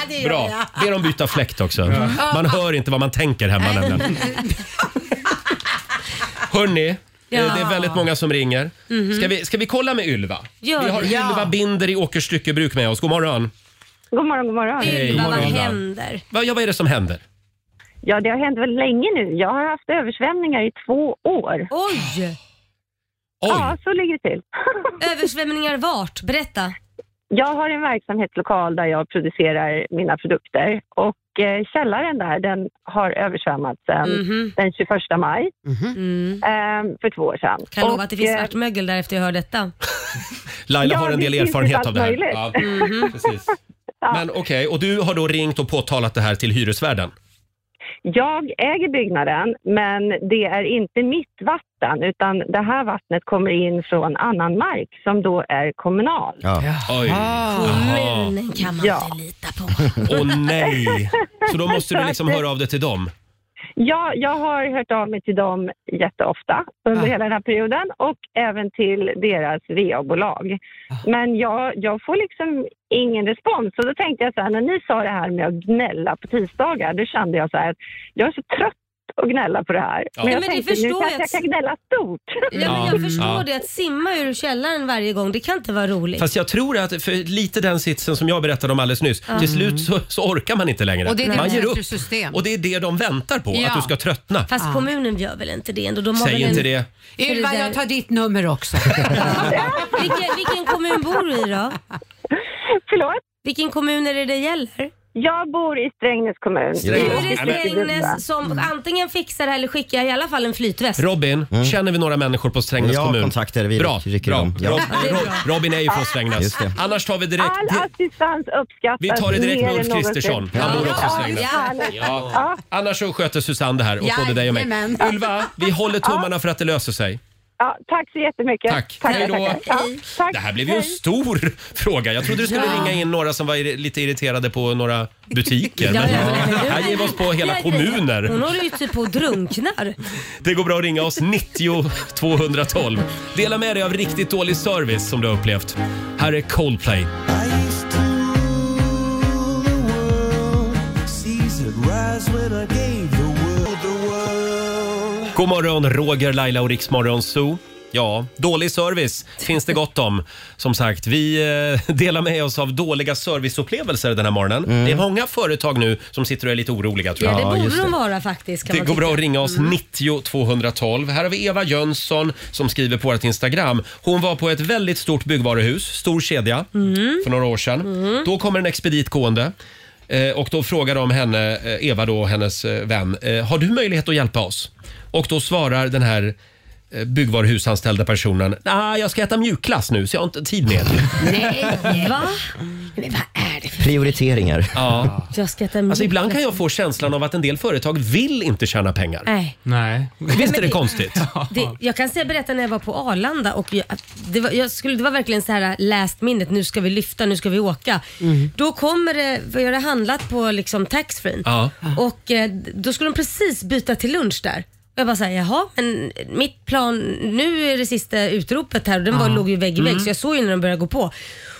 det gör Bra. jag. Be dem byta fläkt också. Ja. Man hör inte vad man tänker hemma nämligen. Hörni, eh, Ja. det är väldigt många som ringer. Mhm. Ska, vi, ska vi kolla med Ylva? Gör vi har det. Ja. Ylva Binder i Åkerstyckebruk med oss. God morgon. God morgon, god morgon. Hej, Ylva, god morgon, vad Ylva. händer? Va, ja, vad är det som händer? Ja, det har hänt väl länge nu. Jag har haft översvämningar i två år. Oj! Ja, så ligger det till. Översvämningar vart? Berätta. Jag har en verksamhetslokal där jag producerar mina produkter och eh, källaren där den har översvämmats sedan Mhm. den 21 maj ehm, för två år sedan. Mm. Kan lova Och, att det finns eh, svartmögel där efter jag hör detta. Laila Ja, har en det del finns erfarenhet allt av det här. möjligt. Mhm. precis. Men okej, och du har då ringt och påtalat det här till hyresvärden? Jag äger byggnaden, men det är inte mitt vatten utan det här vattnet kommer in från annan mark som då är kommunal. Ja. Oj. Jaha. kan man Ja. inte lita Ah. Åh nej! Så då måste du liksom Så att- höra av dig till dem? Ja, jag har hört av mig till dem jätteofta Ah. under hela den här perioden och även till deras VA-bolag. Ah. Men jag, jag får liksom ingen respons. Så då tänkte jag så här, när ni sa det här med att gnälla på tisdagar, då kände jag så här att jag är så trött att gnälla på det här. Ja. Men Nej, jag men det tänkte nu förstår kanske jag jag att- kan gnälla stort. Ja, men Ja. jag förstår Ja. det. Att simma ur källaren varje gång, det kan inte vara roligt. Fast jag tror att, för lite den sitsen som jag berättade om alldeles nyss, Mm. till slut så, så orkar man inte längre. Och det är det man med ger upp. system. Och det är det de väntar på, Ja. att du ska tröttna. Ah. Fast kommunen gör väl inte det ändå? De har Säg väl inte en... det. Ylva, jag tar ditt nummer också. vilken, vilken kommun bor du i då? Förlåt? Vilken kommun är det det gäller? Jag bor i Strängnäs kommun. Nu är Nej, det men- Mm. Strängnäs som antingen fixar det här eller skickar i alla fall en flytväst. Robin, känner vi några människor på Strängnäs Jag har kommun? kontakter, Mm. vi bra, rycker bra. dem. Ja. Rob, Ja, det är Rob, Robin är ju från Strängnäs. Just det. Annars tar vi direkt... All assistans uppskattas Vi tar Alltså, det direkt mer med än Ulf någonsin. Kristersson. Han bor också i Strängnäs. Ja. Annars så sköter Susanne det här och både dig och mig. Jajamän. Ylva, vi håller tummarna för att det löser sig. Ja, tack så jättemycket. Tack. Tackar, Hej då. tackar. Ja, tack. Det här blev ju en Hej. stor fråga. Jag trodde du skulle Ja. ringa in några som var ir- lite irriterade på några butiker. Ja, Men ja, ja. Här ger vi oss på hela Hon kommuner. håller ju typ på och drunknar. Det går bra att ringa oss 90 212. Dela med dig av riktigt dålig service som du har upplevt. Här är Coldplay. God morgon, Roger, Laila och Riksmorgon Zoo. Ja, dålig service finns det gott om. Som sagt, vi eh, delar med oss av dåliga serviceupplevelser den här morgonen. Det är många företag nu som sitter och är lite oroliga tror Mm. Ja, jag. det borde de vara faktiskt. Kan Det man går tycka. Mm. bra att ringa oss 90 212. Här har vi Eva Jönsson som skriver på vårt Instagram. Hon var på ett väldigt stort byggvaruhus, stor kedja, Mm. för några år sedan. Då kommer en expedit gående eh, och då frågar de henne, eh, Eva då, hennes eh, vän, eh, har du möjlighet att hjälpa oss? Och då svarar den här eh, byggvaruhusanställda personen, nej jag ska äta mjukglass nu så jag har inte tid med det. Nej, va? Prioriteringar. Ja. Jag ska äta Alltså ibland kan jag få känslan av att en del företag vill inte tjäna pengar. Nej. Nej. Visst är det konstigt? Det, jag kan säga, berätta när jag var på Arlanda och jag, det, var, jag skulle, det var verkligen så här last minute, nu ska vi lyfta, nu ska vi åka. Mm. Då kommer det, för jag hade handlat på liksom taxfree Ja. och eh, då skulle de precis byta till lunch där. Och Jag bara såhär, jaha, men mitt plan, nu är det sista utropet här och den var, Ja. låg ju vägg i vägg Mm. så jag såg ju när de började gå på.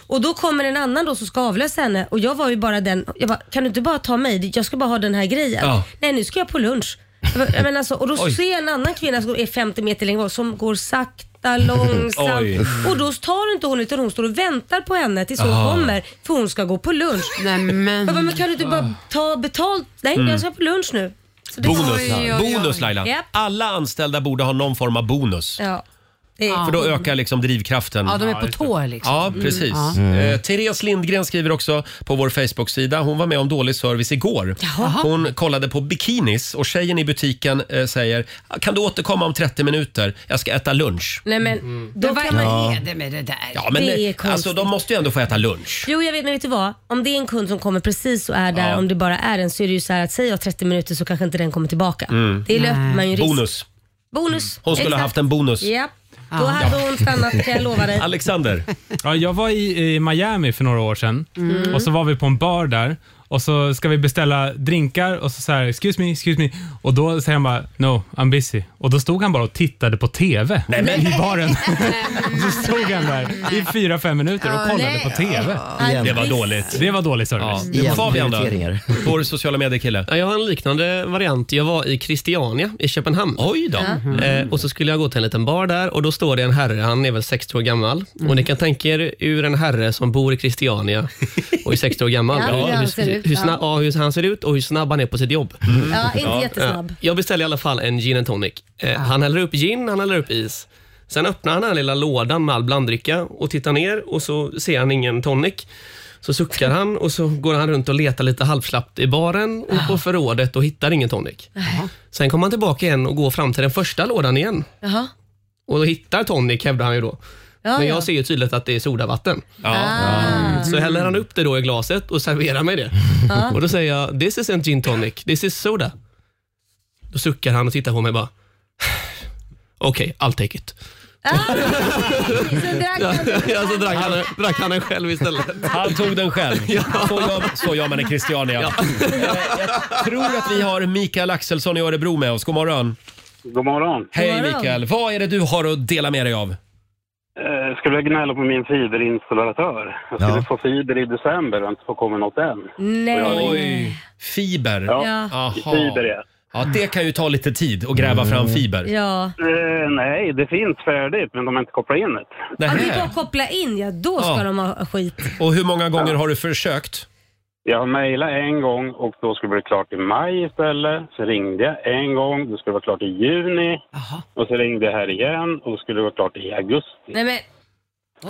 Och då kommer en annan då som ska avlösa henne och jag var ju bara den, jag bara, kan du inte bara ta mig? Jag ska bara ha den här grejen. Ja. Nej, nu ska jag på lunch. Jag bara, jag menar alltså, och då Oj. ser jag en annan kvinna som är 50 meter längre bort som går sakta, långsamt. Oj. och då tar inte hon utan hon står och väntar på henne tills hon Ah. kommer för hon ska gå på lunch. Nej, men. Jag bara, men kan du inte bara ta betalt? Nej, Ah. Mm. jag ska på lunch nu. Så det- Bonus, Oj, oj, oj. bonus Laila. Japp. Alla anställda borde ha någon form av bonus. Ja. Det är- För då ökar liksom drivkraften. Ja, de är på tå liksom. Ja, Mm. precis. Ja. Eh, Therese Lindgren skriver också på vår Facebook-sida. Hon var med om dålig service igår. Hon kollade på bikinis och tjejen i butiken eh, säger “Kan du återkomma om 30 minuter? Jag ska äta lunch”. Nej men, då Vad kan man... Ja. är det med det där? Ja, men Det är eh, alltså, de måste ju ändå få äta lunch. Jo, jag vet, men vet du vad? Om det är en kund som kommer precis och är där, Ja. om det bara är en, så är det ju så här att säger jag 30 minuter så kanske inte den kommer tillbaka. Mm. Det löper man ju risk. Bonus. Bonus. Hon skulle ha haft en bonus. Ja. Då hade hon stannat kan jag lova dig. Alexander? Ja, jag var i, i Miami för några år sedan Mm. och så var vi på en bar där och så ska vi beställa drinkar och så säger “excuse me, excuse me” och då säger han bara “no, I'm busy” och då stod han bara och tittade på TV Nej, men- i baren. och så stod han där i fyra, fem minuter och Ja, kollade nej. på TV. Igen. Det var dåligt. Det var dålig service. Ja. Fabian då? Vår sociala medier-kille. Ja, jag har en liknande variant. Jag var i Christiania i Köpenhamn. Oj då. Eh, och så skulle jag gå till en liten bar där och då står det en herre, han är väl 60 år gammal. Och ni kan tänka er ur en herre som bor i Christiania och är 60 år gammal. Ja, hur han ser hur, ut, hur, ja. snabb, ja, hur han ser ut och hur snabb han är på sitt jobb. Ja, inte jättesnabb. Jag beställer i alla fall en gin and tonic. Eh, Han häller upp gin, han häller upp is. Sen öppnar han den här lilla lådan med all blanddricka och tittar ner och så ser han ingen tonic. Så suckar han och så går han runt och letar lite halvslappt i baren och på förrådet och hittar ingen tonic. Sen kommer han tillbaka igen och går fram till den första lådan igen Jaha. och då hittar tonic hävdar han ju då. Ja, Men ja. Ah. jag ser ju tydligt att det är sodavatten. Så häller han upp det då i glaset och serverar mig det. Ja. Och då säger jag, this is en gin tonic, this is soda. Då suckar han och tittar på mig bara, okej, I'll take it. Ja, ja, så drack han, drack han den själv istället. Han tog den själv. Så, gör, så gör man i Christiania. Eh, Jag tror att vi har Mikael Axelsson i Örebro med oss. God morgon. God morgon. Hej Mikael. Vad är det du har att dela med dig av? Eh, skulle jag gnälla på min fiberinstallatör. Jag skulle få fiber i december och inte få komma något än. Nej. Fiber? Ja, Ja. Aha. fiber ja. Mm. Ja, det kan ju ta lite tid att gräva fram fiber. Ja. Eh, nej, det finns färdigt, men de har inte kopplat in det. Ja, det är bara att koppla in, ja då ska Ja. de ha skit. Och hur många gånger har du försökt? Jag mejlade en gång och då skulle det bli klart i maj istället. Så ringde jag en gång, då skulle det vara klart i juni. Och så ringde jag här igen och då skulle det vara klart i augusti. Nej men,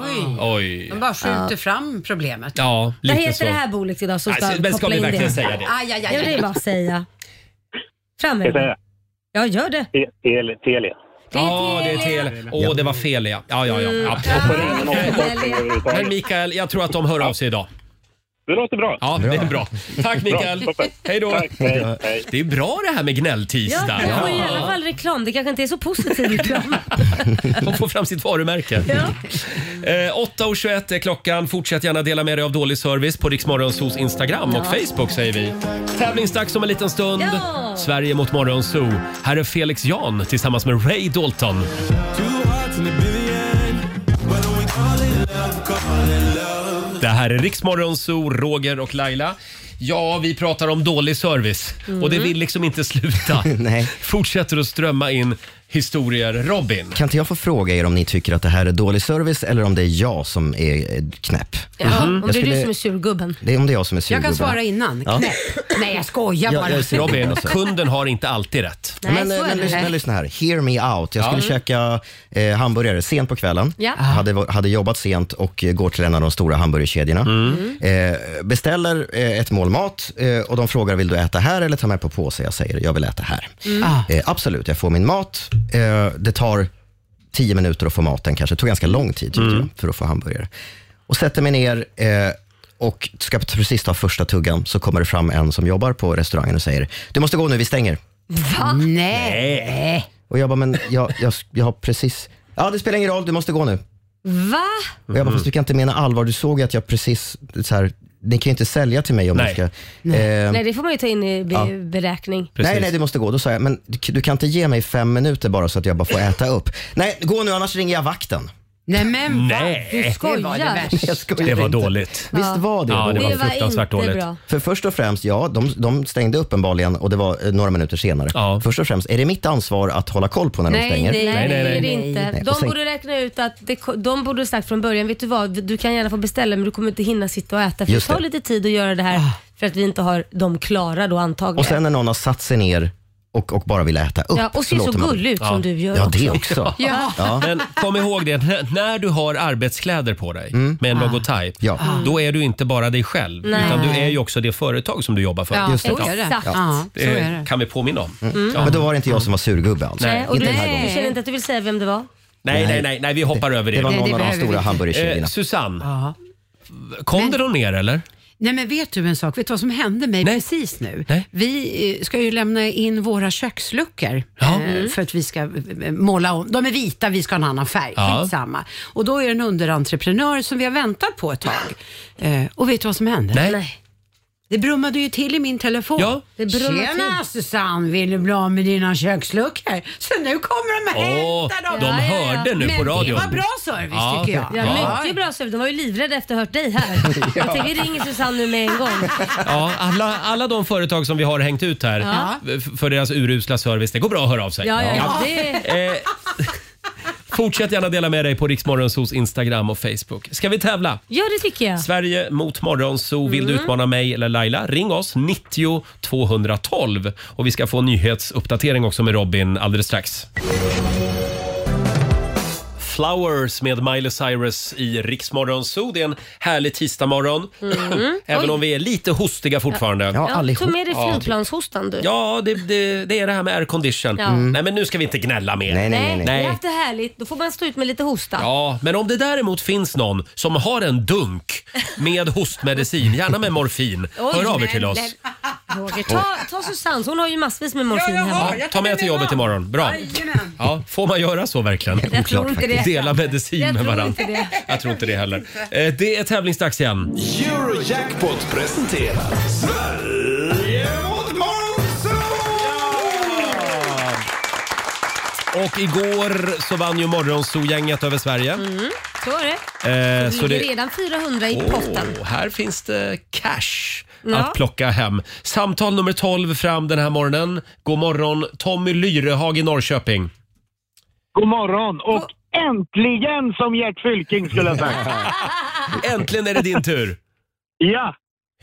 Oj, Oj. de bara skjuter fram problemet. Ja, vad lite heter så. det här bolet idag som ska Nej, men ska koppla vi in verkligen det? säga det? Aj, aj, aj, Ja, det är aj. bara att säga. Fram Ska med jag säga? det. Ja, gör det. Te- Tele- Telia. Ja, det är Telia. Åh, det var fel ja. Ja, ja, ja. Mm. ja. Men Mikael, jag tror att de hör av sig idag. Det låter bra. Ja, det är bra. Tack Mikael. Bra, toppen. Hej då. Tack, hej, hej. Det är bra det här med Ja, gnälltisdag. de får i alla fall reklam. Det kanske inte är så positiv reklam. De får fram sitt varumärke. Eh, 8.21 är klockan. Fortsätt gärna dela med dig av dålig service på Riksmorgonsos Instagram och Ja. Facebook säger vi. Tävlingsdags om en liten stund. Ja. Sverige mot Morgonzoo. Här är Felix Jan tillsammans med Ray Dalton. Det här är Riksmorgonzoo, Roger och Laila. Ja, vi pratar om dålig service Mm. och det vill liksom inte sluta. Nej. Fortsätter att strömma in historier. Robin. Kan inte jag få fråga er om ni tycker att det här är dålig service eller om det är jag som är eh, knäpp? Mm. Ja, om Mm-hmm. Jag det är skulle- du som är surgubben. Det är om det är jag som är Jag surgubben. kan svara innan. Ja. Knäpp. Nej, jag skojar bara. Robin, kunden har inte alltid rätt. Nej, men, så eh, är men, det. lyssna, men lyssna här. Hear me out. Jag Ja. skulle Mm. käka eh, hamburgare sent på kvällen. Ja. Hade, hade jobbat sent och eh, går till en av de stora hamburgerkedjorna. Mm. Eh, beställer eh, ett mål mat eh, och de frågar vill du äta här eller ta med på påse. Jag säger jag vill äta här. Mm. Ah. Eh, absolut, jag får min mat. Eh, det tar tio minuter att få maten kanske. Det tog ganska lång tid tyckte jag, för att få hamburgare. Och sätter mig ner eh, och ska precis ta första tuggan så kommer det fram en som jobbar på restaurangen och säger du måste gå nu, vi stänger. Mm. Va? Nej. Och jag bara, men jag, jag, jag har precis... Ja, det spelar ingen roll, du måste gå nu. Va? Och Mm-hmm. jag bara, fast du kan inte mena allvar. Du såg ju att jag precis... Så här, ni kan ju inte sälja till mig om Nej. du ska... eh, Nej, det får man ju ta in i be- Ja. beräkning. Nej, nej, du måste gå. Då sa jag, men du, du kan inte ge mig fem minuter bara så att jag bara får äta upp. Nej, gå nu annars ringer jag vakten. Nej men va? Nej. Du skojar. Det var det värsta. Jag skojar Det var inte. dåligt. Visst Ja. var det Ja, det dåligt? var Det var fruktansvärt inte dåligt. bra. För först och främst, ja, de, de stängde uppenbarligen och det var eh, några minuter senare. Först och främst, är det mitt ansvar att hålla koll på när de Nej, stänger? nej, nej, det är det inte. Nej, De och sen- borde räkna ut att det, ko- de borde ha sagt från början, vet du vad, du kan gärna få beställa men du kommer inte hinna sitta och äta för det Just tar det. Ah. lite tid att göra det här för att vi inte har dem klara då antagligen. Och sen när någon har satt sig ner och, och bara vill äta upp. Ja, och ser så låter man- gullig ut som Ja. du gör Ja, det också. också. Ja. Men kom ihåg det, n- när du har arbetskläder på dig Mm. med en Ah. logotyp, Ah. då är du inte bara dig själv. Nej. Utan du är ju också det företag som du jobbar för. Ja, Just det. så är det. Exakt. Ja, Det så är det. kan vi påminna om. Mm. Ja. Men då var det inte jag som var surgubbe alltså. Nej. Nej, och Inte du, den här gången. du känner inte att du vill säga vem det var? Nej, nej, nej, nej, vi hoppar över det. det var någon av de stora Eh, hamburgerkedjorna. Susanne, kom det någon mer eller? Nej men vet du en sak? Vet du vad som hände mig precis nu? Vi eh, ska ju lämna in våra köksluckor Ja. Mm. eh, för att vi ska eh, måla om. De är vita, vi ska ha en annan färg. Ja. Skitsamma. Och då är det en underentreprenör som vi har väntat på ett tag. Eh, Och vet du vad som hände? Nej. Det brummade ju till i min telefon. Ja. Det brummade Tjena Susanne, vill du bli av med dina köksluckor? Så nu kommer de och Åh, hämtar dem. de hörde nu Men på radion. det var bra service Ja. tycker jag. Ja, Ja. Mycket bra Sofie, de var ju livrädda efter att ha hört dig här. Jag tänker vi ringer Susanne nu med en gång. Ja, alla, alla de företag som vi har hängt ut här Ja. f- för deras urusla service, det går bra att höra av sig. Ja, ja, ja. Det... Eh, fortsätt gärna dela med dig på Riksmorgonsos Instagram och Facebook. Ska vi tävla? ja, det tycker jag. Sverige mot Morgonzoo. Vill du Mm. utmana mig eller Laila? Ring oss, 90 212. Och vi ska få en nyhetsuppdatering också med Robin alldeles strax. Flowers med Miley Cyrus i Riksmorgonzoo. Det är en härlig tisdagmorgon. Mm. Även Oj. om vi är lite hostiga fortfarande. Tog med dig flygplanshostan du. Ja, det, det, det är det här med aircondition. Ja. Mm. Nej, men nu ska vi inte gnälla mer. Vi har haft det härligt. Då får man stå ut med lite hosta. Ja, men om det däremot finns någon som har en dunk med hostmedicin, gärna med morfin, Oj, hör av er men- till oss. men- Roger, ta, ta Susanne, hon har ju massvis med morfin hemma. Ja, ta med till jobbet imorgon. Bra. Ja, får man göra så verkligen? tror Oklart, inte det. Dela medicin Jag med tror varandra. inte det. Jag tror inte det heller. Eh, Det är tävlingsdags igen. Eurojackpot presenterar Sverige mot Morgonzoo! Och igår så vann ju Morgonzoo-gänget över Sverige. Mm, så är det. Eh, Det så ligger det... redan 400 i Åh, potten. här finns det cash att Ja. plocka hem. Samtal nummer 12 fram den här morgonen. God morgon Tommy Lyrehag i Norrköping. God morgon och äntligen som Gert Fylking skulle jag säga. Äntligen är det din tur. Ja.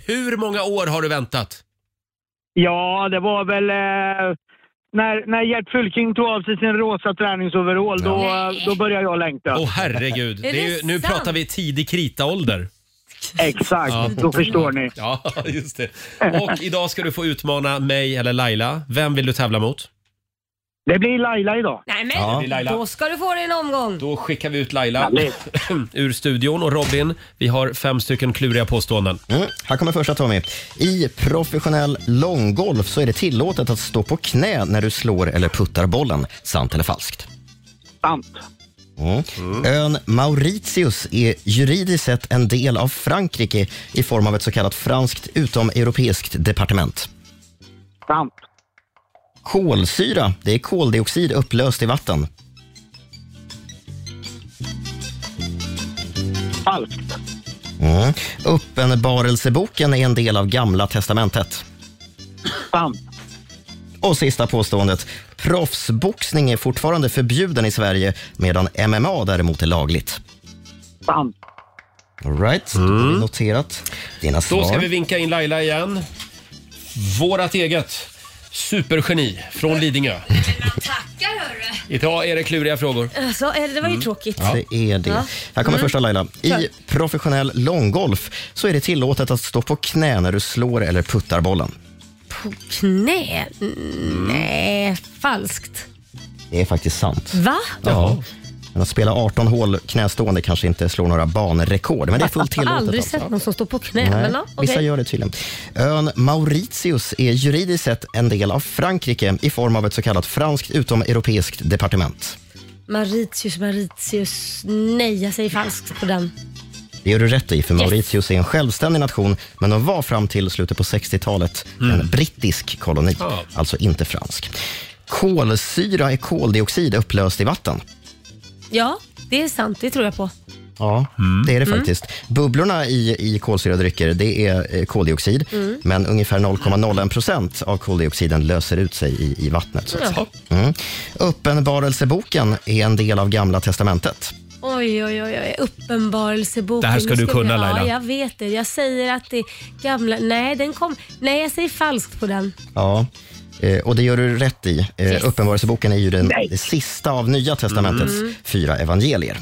Hur många år har du väntat? Ja, det var väl eh, när, när Gert Fylking tog av sig sin rosa träningsoverall då, eh, då började jag längta. Åh herregud, Är det är det ju, nu sant? pratar vi tidig kritaålder. Exakt, då förstår ni. Ja, just det. Och idag ska du få utmana mig eller Laila. Vem vill du tävla mot? Det blir Laila idag. Nej men, Ja. Det blir Laila. då ska du få din omgång. Då skickar vi ut Laila ur studion. Och Robin, vi har fem stycken kluriga påståenden. Mm. Här kommer första Tommy. I professionell långgolf så är det tillåtet att stå på knä när du slår eller puttar bollen. Sant eller falskt? Sant. Mm. Ön Mauritius är juridiskt sett en del av Frankrike i form av ett så kallat franskt utomeuropeiskt departement. Sant. Kolsyra, det är koldioxid upplöst i vatten. Falskt. Mm. Uppenbarelseboken är en del av Gamla testamentet. Sant. Och sista påståendet. Proffsboxning är fortfarande förbjuden i Sverige medan MMA däremot är lagligt. Sant. All right, då har vi noterat dina svar. Mm. Då ska vi vinka in Laila igen. Vårat eget supergeni från Lidingö. Tackar hörru. Idag är det kluriga frågor. Alltså, är det, det var ju Mm. tråkigt. Det är det. Ja. Här kommer Mm. första Laila. Kör. I professionell långgolf så är det tillåtet att stå på knä när du slår eller puttar bollen. På knä? Mm. Nej, falskt. Det är faktiskt sant. Va? Ja. Men att spela 18 hål knästående kanske inte slår några banrekord, men det är fullt Jag har tillåtet. aldrig alltså. sett någon som står på knä. Nej, Men, ja, okej. Vissa gör det tydligen. Ön Mauritius är juridiskt sett en del av Frankrike i form av ett så kallat franskt utomeuropeiskt departement. Mauritius, Mauritius. Nej, jag säger falskt på den. Det gör du rätt i, för Yes. Mauritius är en självständig nation, men de var fram till slutet på 60-talet Mm. en brittisk koloni, Ja. alltså inte fransk. Kolsyra är koldioxid upplöst i vatten. Ja, det är sant. Det tror jag på. Ja, det är det Mm. faktiskt. Bubblorna i, i kolsyradrycker, det är eh, koldioxid, Mm. men ungefär 0,01 procent av koldioxiden löser ut sig i, i vattnet. Så att säga. Mm. Uppenbarelseboken är en del av Gamla testamentet. Oj, oj, oj. oj. Uppenbarelseboken. Det här ska Nu du kunna, vi- Laila. Ja, jag vet det. Jag säger att det är gamla... Nej, den kom... Nej, jag säger falskt på den. Ja. Eh, Och det gör du rätt i. Eh, Yes. Uppenbarelseboken är ju den Nej. det sista av Nya testamentets Mm. fyra evangelier.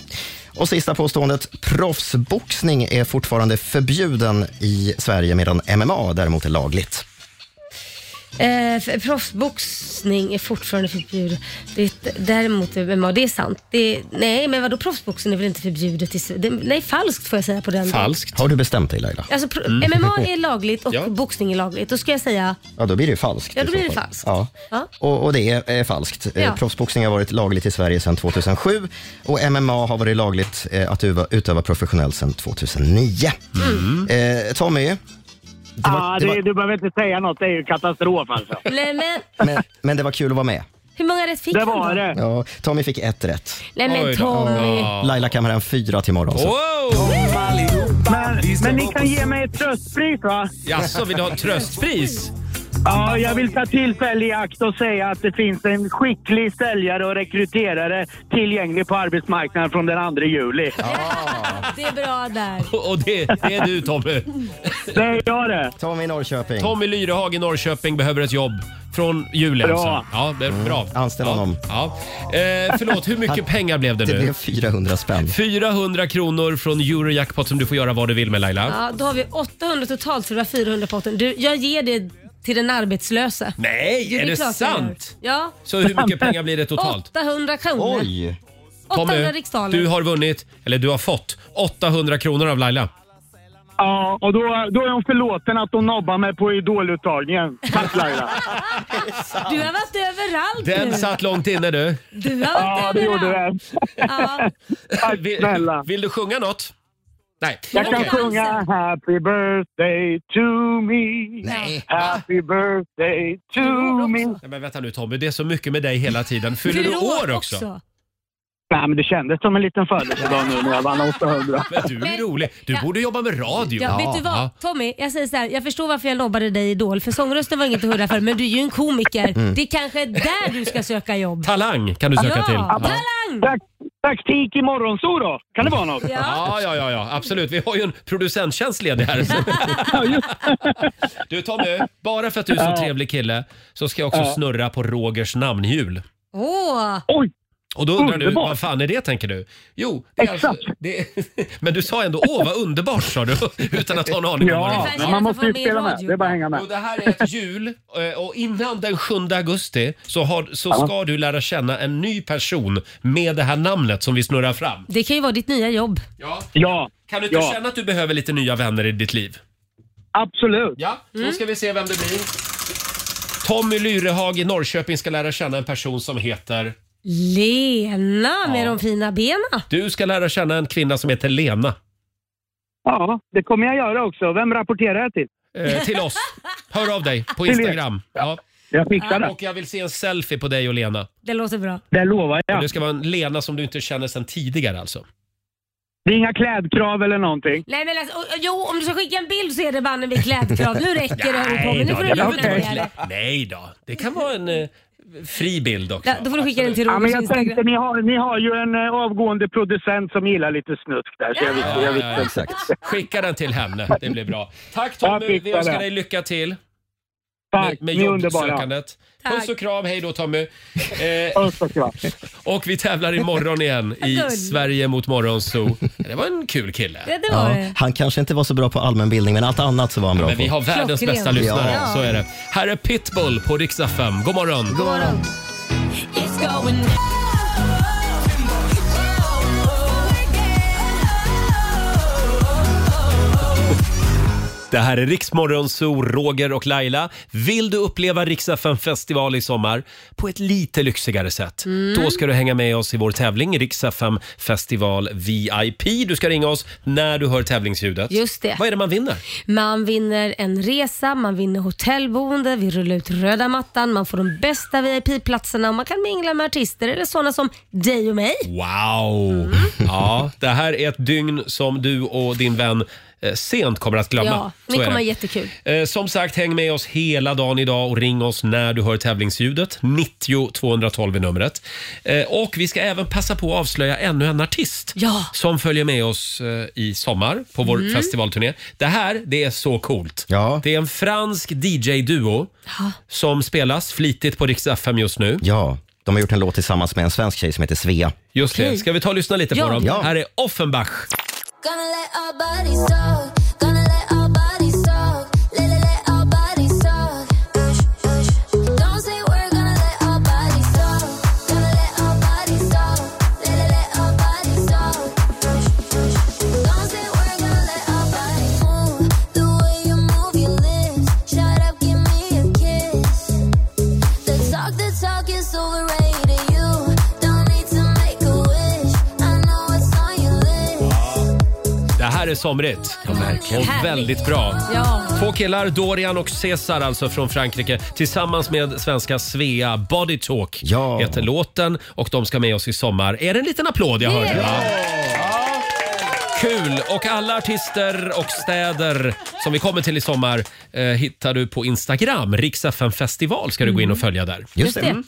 Och sista påståendet, proffsboxning är fortfarande förbjuden i Sverige medan MMA däremot är lagligt. Eh, för- proffsboxning är fortfarande förbjudet. Det, däremot, MMA, det är sant. Det, nej, men vadå proffsboxning är väl inte förbjudet? I, Sve- det, nej, falskt får jag säga på den. Har du bestämt dig Laila? Alltså, pro, Mm. MMA är lagligt och boxning är lagligt. Då ska jag säga... Ja, då blir det ju falskt. Ja, då i så blir det fall. falskt. Ja. Ja. Och, och det är eh, falskt. Eh, Ja. Proffsboxning har varit lagligt i Sverige sedan 2007 och MMA har varit lagligt eh, att uva, utöva professionellt sedan 2009. Mm. Eh, Tommy, Det var- ah, det det var- Du behöver inte säga något, det är ju katastrof alltså. Nej, men men, men det var kul att vara med. hur många rätt fick han då? Ja, Tommy fick ett rätt. Nej, men Oj då. Tommy. Ja. Laila kammar hem fyra till imorgon. Alltså. Så. Men, men ni kan ge mig ett tröstpris va? Jaså, vill du ha ett tröstpris? Ja, jag vill ta tillfälle i akt och säga att det finns en skicklig säljare och rekryterare tillgänglig på arbetsmarknaden från den 2 juli. Det är bra där. Och det, det är du Tommy. Det är jag det. Tommy Norrköping. Tommy Lyrehag i Norrköping behöver ett jobb från julen. Bra. alltså. Ja, det är bra. Anställ ja. honom. Ja. Eh, förlåt, hur mycket pengar blev det nu? Det blev 400 spänn. 400 kronor från Eurojackpot som du får göra vad du vill med Laila. Ja, då har vi 800 totalt så du har 400 potten. Du, jag ger det till den arbetslösa. Nej, Jo, är det klart jag gör. sant? Ja. Så hur mycket pengar blir det totalt? 800 kronor. 800 Tommy, riksdaler. du har vunnit, eller du har fått, 800 kronor av Laila. Ja, och då, då är hon förlåten att hon nobbar mig på idoluttagningen. Tack Laila. Du har varit överallt Den nu. satt långt inne du. Du har varit Ja, det överallt. gjorde det. Ja. Vill, vill du sjunga något? Nej. Jag kan Okej. sjunga Happy birthday to me. Happy birthday to me. Nej, men vänta nu Tommy, det är så mycket med dig hela tiden. Fyller du år också? Nej, men det kändes som en liten födelsedag nu när jag vann 800. Men du är rolig. Du borde jobba med radio. Ja, vet du vad Tommy, jag säger så här, jag förstår varför jag lobbade dig i Idol för sångrösten var inget att hurra för men du är ju en komiker. Mm. Det är kanske är där du ska söka jobb. Talang kan du söka ja, till. Talang! Taktik i morgonsol då? Kan det vara något? Ja, ja, ja, ja, absolut. Vi har ju en producenttjänst ledig här. Du Tommy, bara för att du är så Ja. trevlig kille så ska jag också Ja. snurra på Rogers namnhjul. Åh! Oj! Och då undrar Underbart. du, vad fan är det tänker du? Jo, det är alltså, det, men du sa ändå åh vad underbart sa du utan att ha en aning om vad det Ja, var. men man måste ju spela med. Det är bara att hänga med. Och det här är ett hjul eh, och innan den 7 augusti så, har, så ska du lära känna en ny person med det här namnet som vi snurrar fram. Det kan ju vara ditt nya jobb. Ja. Kan du inte Ja. känna att du behöver lite nya vänner i ditt liv? Absolut. Ja, då Mm. ska vi se vem det blir. Tommy Lyrehag i Norrköping ska lära känna en person som heter... Lena med Ja. de fina benen. Du ska lära känna en kvinna som heter Lena. Ja, det kommer jag göra också. Vem rapporterar jag till? Eh, till oss. Hör av dig på Till er. Instagram. Ja. Jag fixar det. Och jag vill se en selfie på dig och Lena. Det låter bra. Det lovar Och jag. det ska vara en Lena som du inte känner sedan tidigare alltså. Det är inga klädkrav eller någonting. Nej men alltså, och- och- jo om du ska skicka en bild så är det banne med klädkrav. Nu räcker det höll på Nej men nu då, får det du behöver lugna inte ner vara dig. klä- Nej då, det kan vara en eh, fri bild också. Ja, Då får du skicka den till Ja, men Rogers jag Instagram. tänkte, ni har, ni har ju en eh, avgående producent som gillar lite snusk där. Så jag visste, jag visste. Skicka den till henne, det blir bra. Tack Jag Tommy, fixar vi önskar det. dig lycka till. Tack, med ni är underbara. jobbsökandet. Puss och kram, hej då Tommy. Eh, och vi tävlar imorgon igen i Gull. Sverige mot Morgonzoo. Det var en kul kille. Ja, det var det. Han kanske inte var så bra på allmänbildning, men allt annat så var han bra Men vi på. har världens Klockren. bästa lyssnare, Ja. så är det. Här är Pitbull på riksdag 5. God morgon! God morgon. It's going down. Det här är Riksmorgonzoo, Roger och Laila. Vill du uppleva Riksdagen festival i sommar på ett lite lyxigare sätt? Mm. Då ska du hänga med oss i vår tävling Riksdagen festival VIP. Du ska ringa oss när du hör tävlingsljudet. Just det. Vad är det man vinner? Man vinner en resa, man vinner hotellboende, vi rullar ut röda mattan, man får de bästa VIP-platserna och man kan mingla med artister eller sådana som dig och mig. Wow! Mm. Ja, det här är ett dygn som du och din vän eh, sent kommer att glömma. Ja, Så ni är kommer ha det. jättekul. Eh, Som sagt, häng med oss hela dagen idag och ring oss när du hör tävlingsljudet. 90 212 är numret. Eh, Och vi ska även passa på att avslöja ännu en artist som följer med oss eh, i sommar på vår Mm. festivalturné. Det här, det är så coolt. Det är en fransk DJ-duo som spelas flitigt på Rix FM just nu. Ja, de har gjort en låt tillsammans med en svensk tjej som heter Svea. Just det. Ska vi ta och lyssna lite Ja. på dem? Ja. Här är Offenbach. Gonna let our bodies talk. Gonna let our bodies talk. Let, let, let our bodies talk. Push, push. Don't say we're gonna let our bodies talk. Gonna let our bodies talk. Let, let, let our bodies talk. Push, push. Don't say we're gonna let our bodies move. The way you move your lips. Shut up, give me a kiss. The talk, the talk is overrated. You don't need to make a wish. I know it's on your list. Det här är somrigt. Och Härligt. väldigt bra. Ja. Två killar, Dorian och Cesar alltså från Frankrike tillsammans med svenska Svea Body Talk heter låten och de ska med oss i sommar. Är det en liten applåd jag hörde? va? Kul! Och alla artister och städer som vi kommer till i sommar eh, hittar du på Instagram. Riks-FM festival ska du gå in och följa där. Mm. Just det. Just Mm.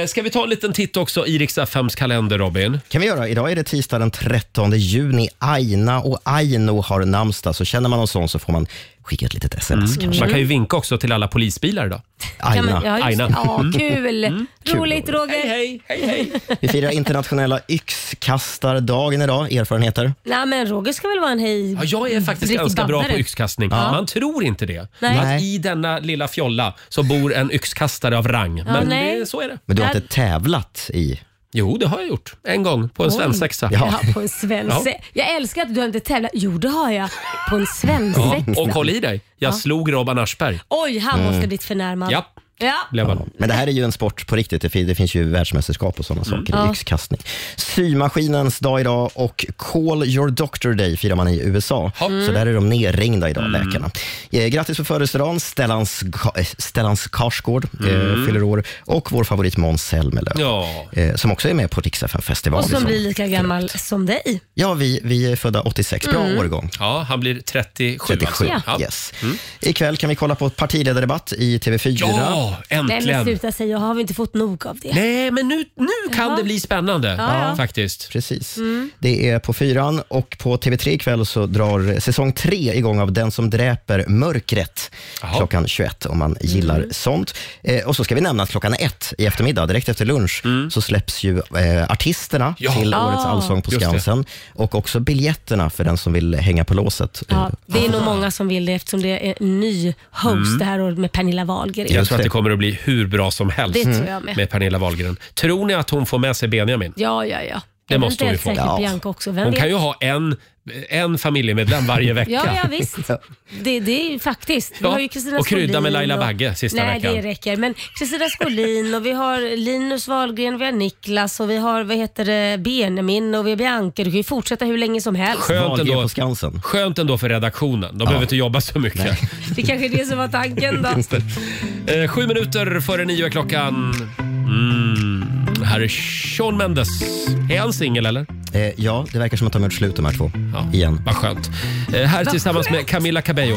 Eh, ska vi ta en liten titt också i Riks-FMs kalender, Robin? kan vi göra. Idag är det tisdag den 13 juni. Aina och Aino har namnsdag, så känner man någon sån så får man skicka ett litet sms Mm. kanske. Man kan ju vinka också till alla polisbilar idag. Kan man- ja, just det. Ja, Mm. kul. Kul, Roligt Roger. Hej, hej. hej, hej. Vi firar internationella yxkastardagen idag, erfarenheter. Nej men Roger ska väl vara en hej... Ja, jag är faktiskt riktig ganska bra baddare. på yxkastning. Ja. Man tror inte det. Nej. Att Nej. I denna lilla fjolla så bor en yxkastare av rang. Ja, Men nej. det, så är det. Men du har inte tävlat i? Jo, det har jag gjort. En gång på en Oj. svensexa. Ja, på en svensexa. Ja. Jag älskar att du inte tävlat. Jo, det har jag. På en svensexa. Ja, och håll i dig. Jag Ja. slog Robban Aschberg. Oj, han måste Mm. blivit förnärmad. Ja, Ja. Blev man. Men det här är ju en sport på riktigt. Det fin- det finns ju världsmästerskap och Mm. sådana saker. Ja. Yxkastning. Symaskinens dag idag och Call your doctor day firar man i USA. Mm. Så där är de nerringda idag, Mm. läkarna. Eh, grattis på födelsedagen, Stellans, Ka- eh, Stellans Karsgård eh, Mm. fyller år och vår favorit Måns Zelmerlöw ja. eh, som också är med på Rix FM festival Och som liksom. blir lika gammal som dig. Ja, vi, vi är födda 86. Bra Mm. årgång. Ja, han blir 37. 37, alltså. Ja. yes. Ikväll kan vi kolla på ett partiledardebatt i TV4. Ja, Nej men sluta säga, har vi inte fått nog av det? Nej, men nu, nu kan det bli spännande Ja, ja. faktiskt. Precis. Mm. Det är på fyran och på TV3 ikväll så drar säsong tre igång av Den som dräper mörkret klockan 21 om man gillar Mm. sånt. Eh, och så ska vi nämna att klockan ett i eftermiddag, direkt efter lunch, så släpps ju eh, artisterna Mm. Ja. till Ah. årets Allsång på Just det. Skansen och också biljetterna för den som vill hänga på låset. Eh, Ja, det är nog många som vill det eftersom det är en ny host Mm. det här året med Pernilla Wahlgren. Jag tror att det kommer att bli hur bra som helst Det tror jag med. med Pernilla Wahlgren. Tror ni att hon får med sig Benjamin? Ja, ja, ja. Det måste hon ju Eventuellt få. säkert Bianca också. Vem Hon vet? kan ju ha en, en familjemedlem varje vecka. Ja, ja visst. Det, det är ju faktiskt. Vi Ja, har ju Kristina och krydda Skolin med Laila och- Bagge sista Nej, veckan. det räcker. Men Kristina Skolin och vi har Linus Wahlgren, vi har Niklas och vi har vad heter det, Benjamin och vi har Bianca. Du kan ju fortsätta hur länge som helst. Skönt ändå, Skansen. skönt ändå för redaktionen. De behöver inte jobba så mycket. Det kanske är det som var tanken då. Just det. Eh, Sju minuter före nio är klockan. Mm. Här är Shawn Mendes. Är han singel eller? Eh, ja, det verkar som att de har gjort slut de här två. Igen. Vad skönt. Eh, Här tillsammans med Camila Cabello.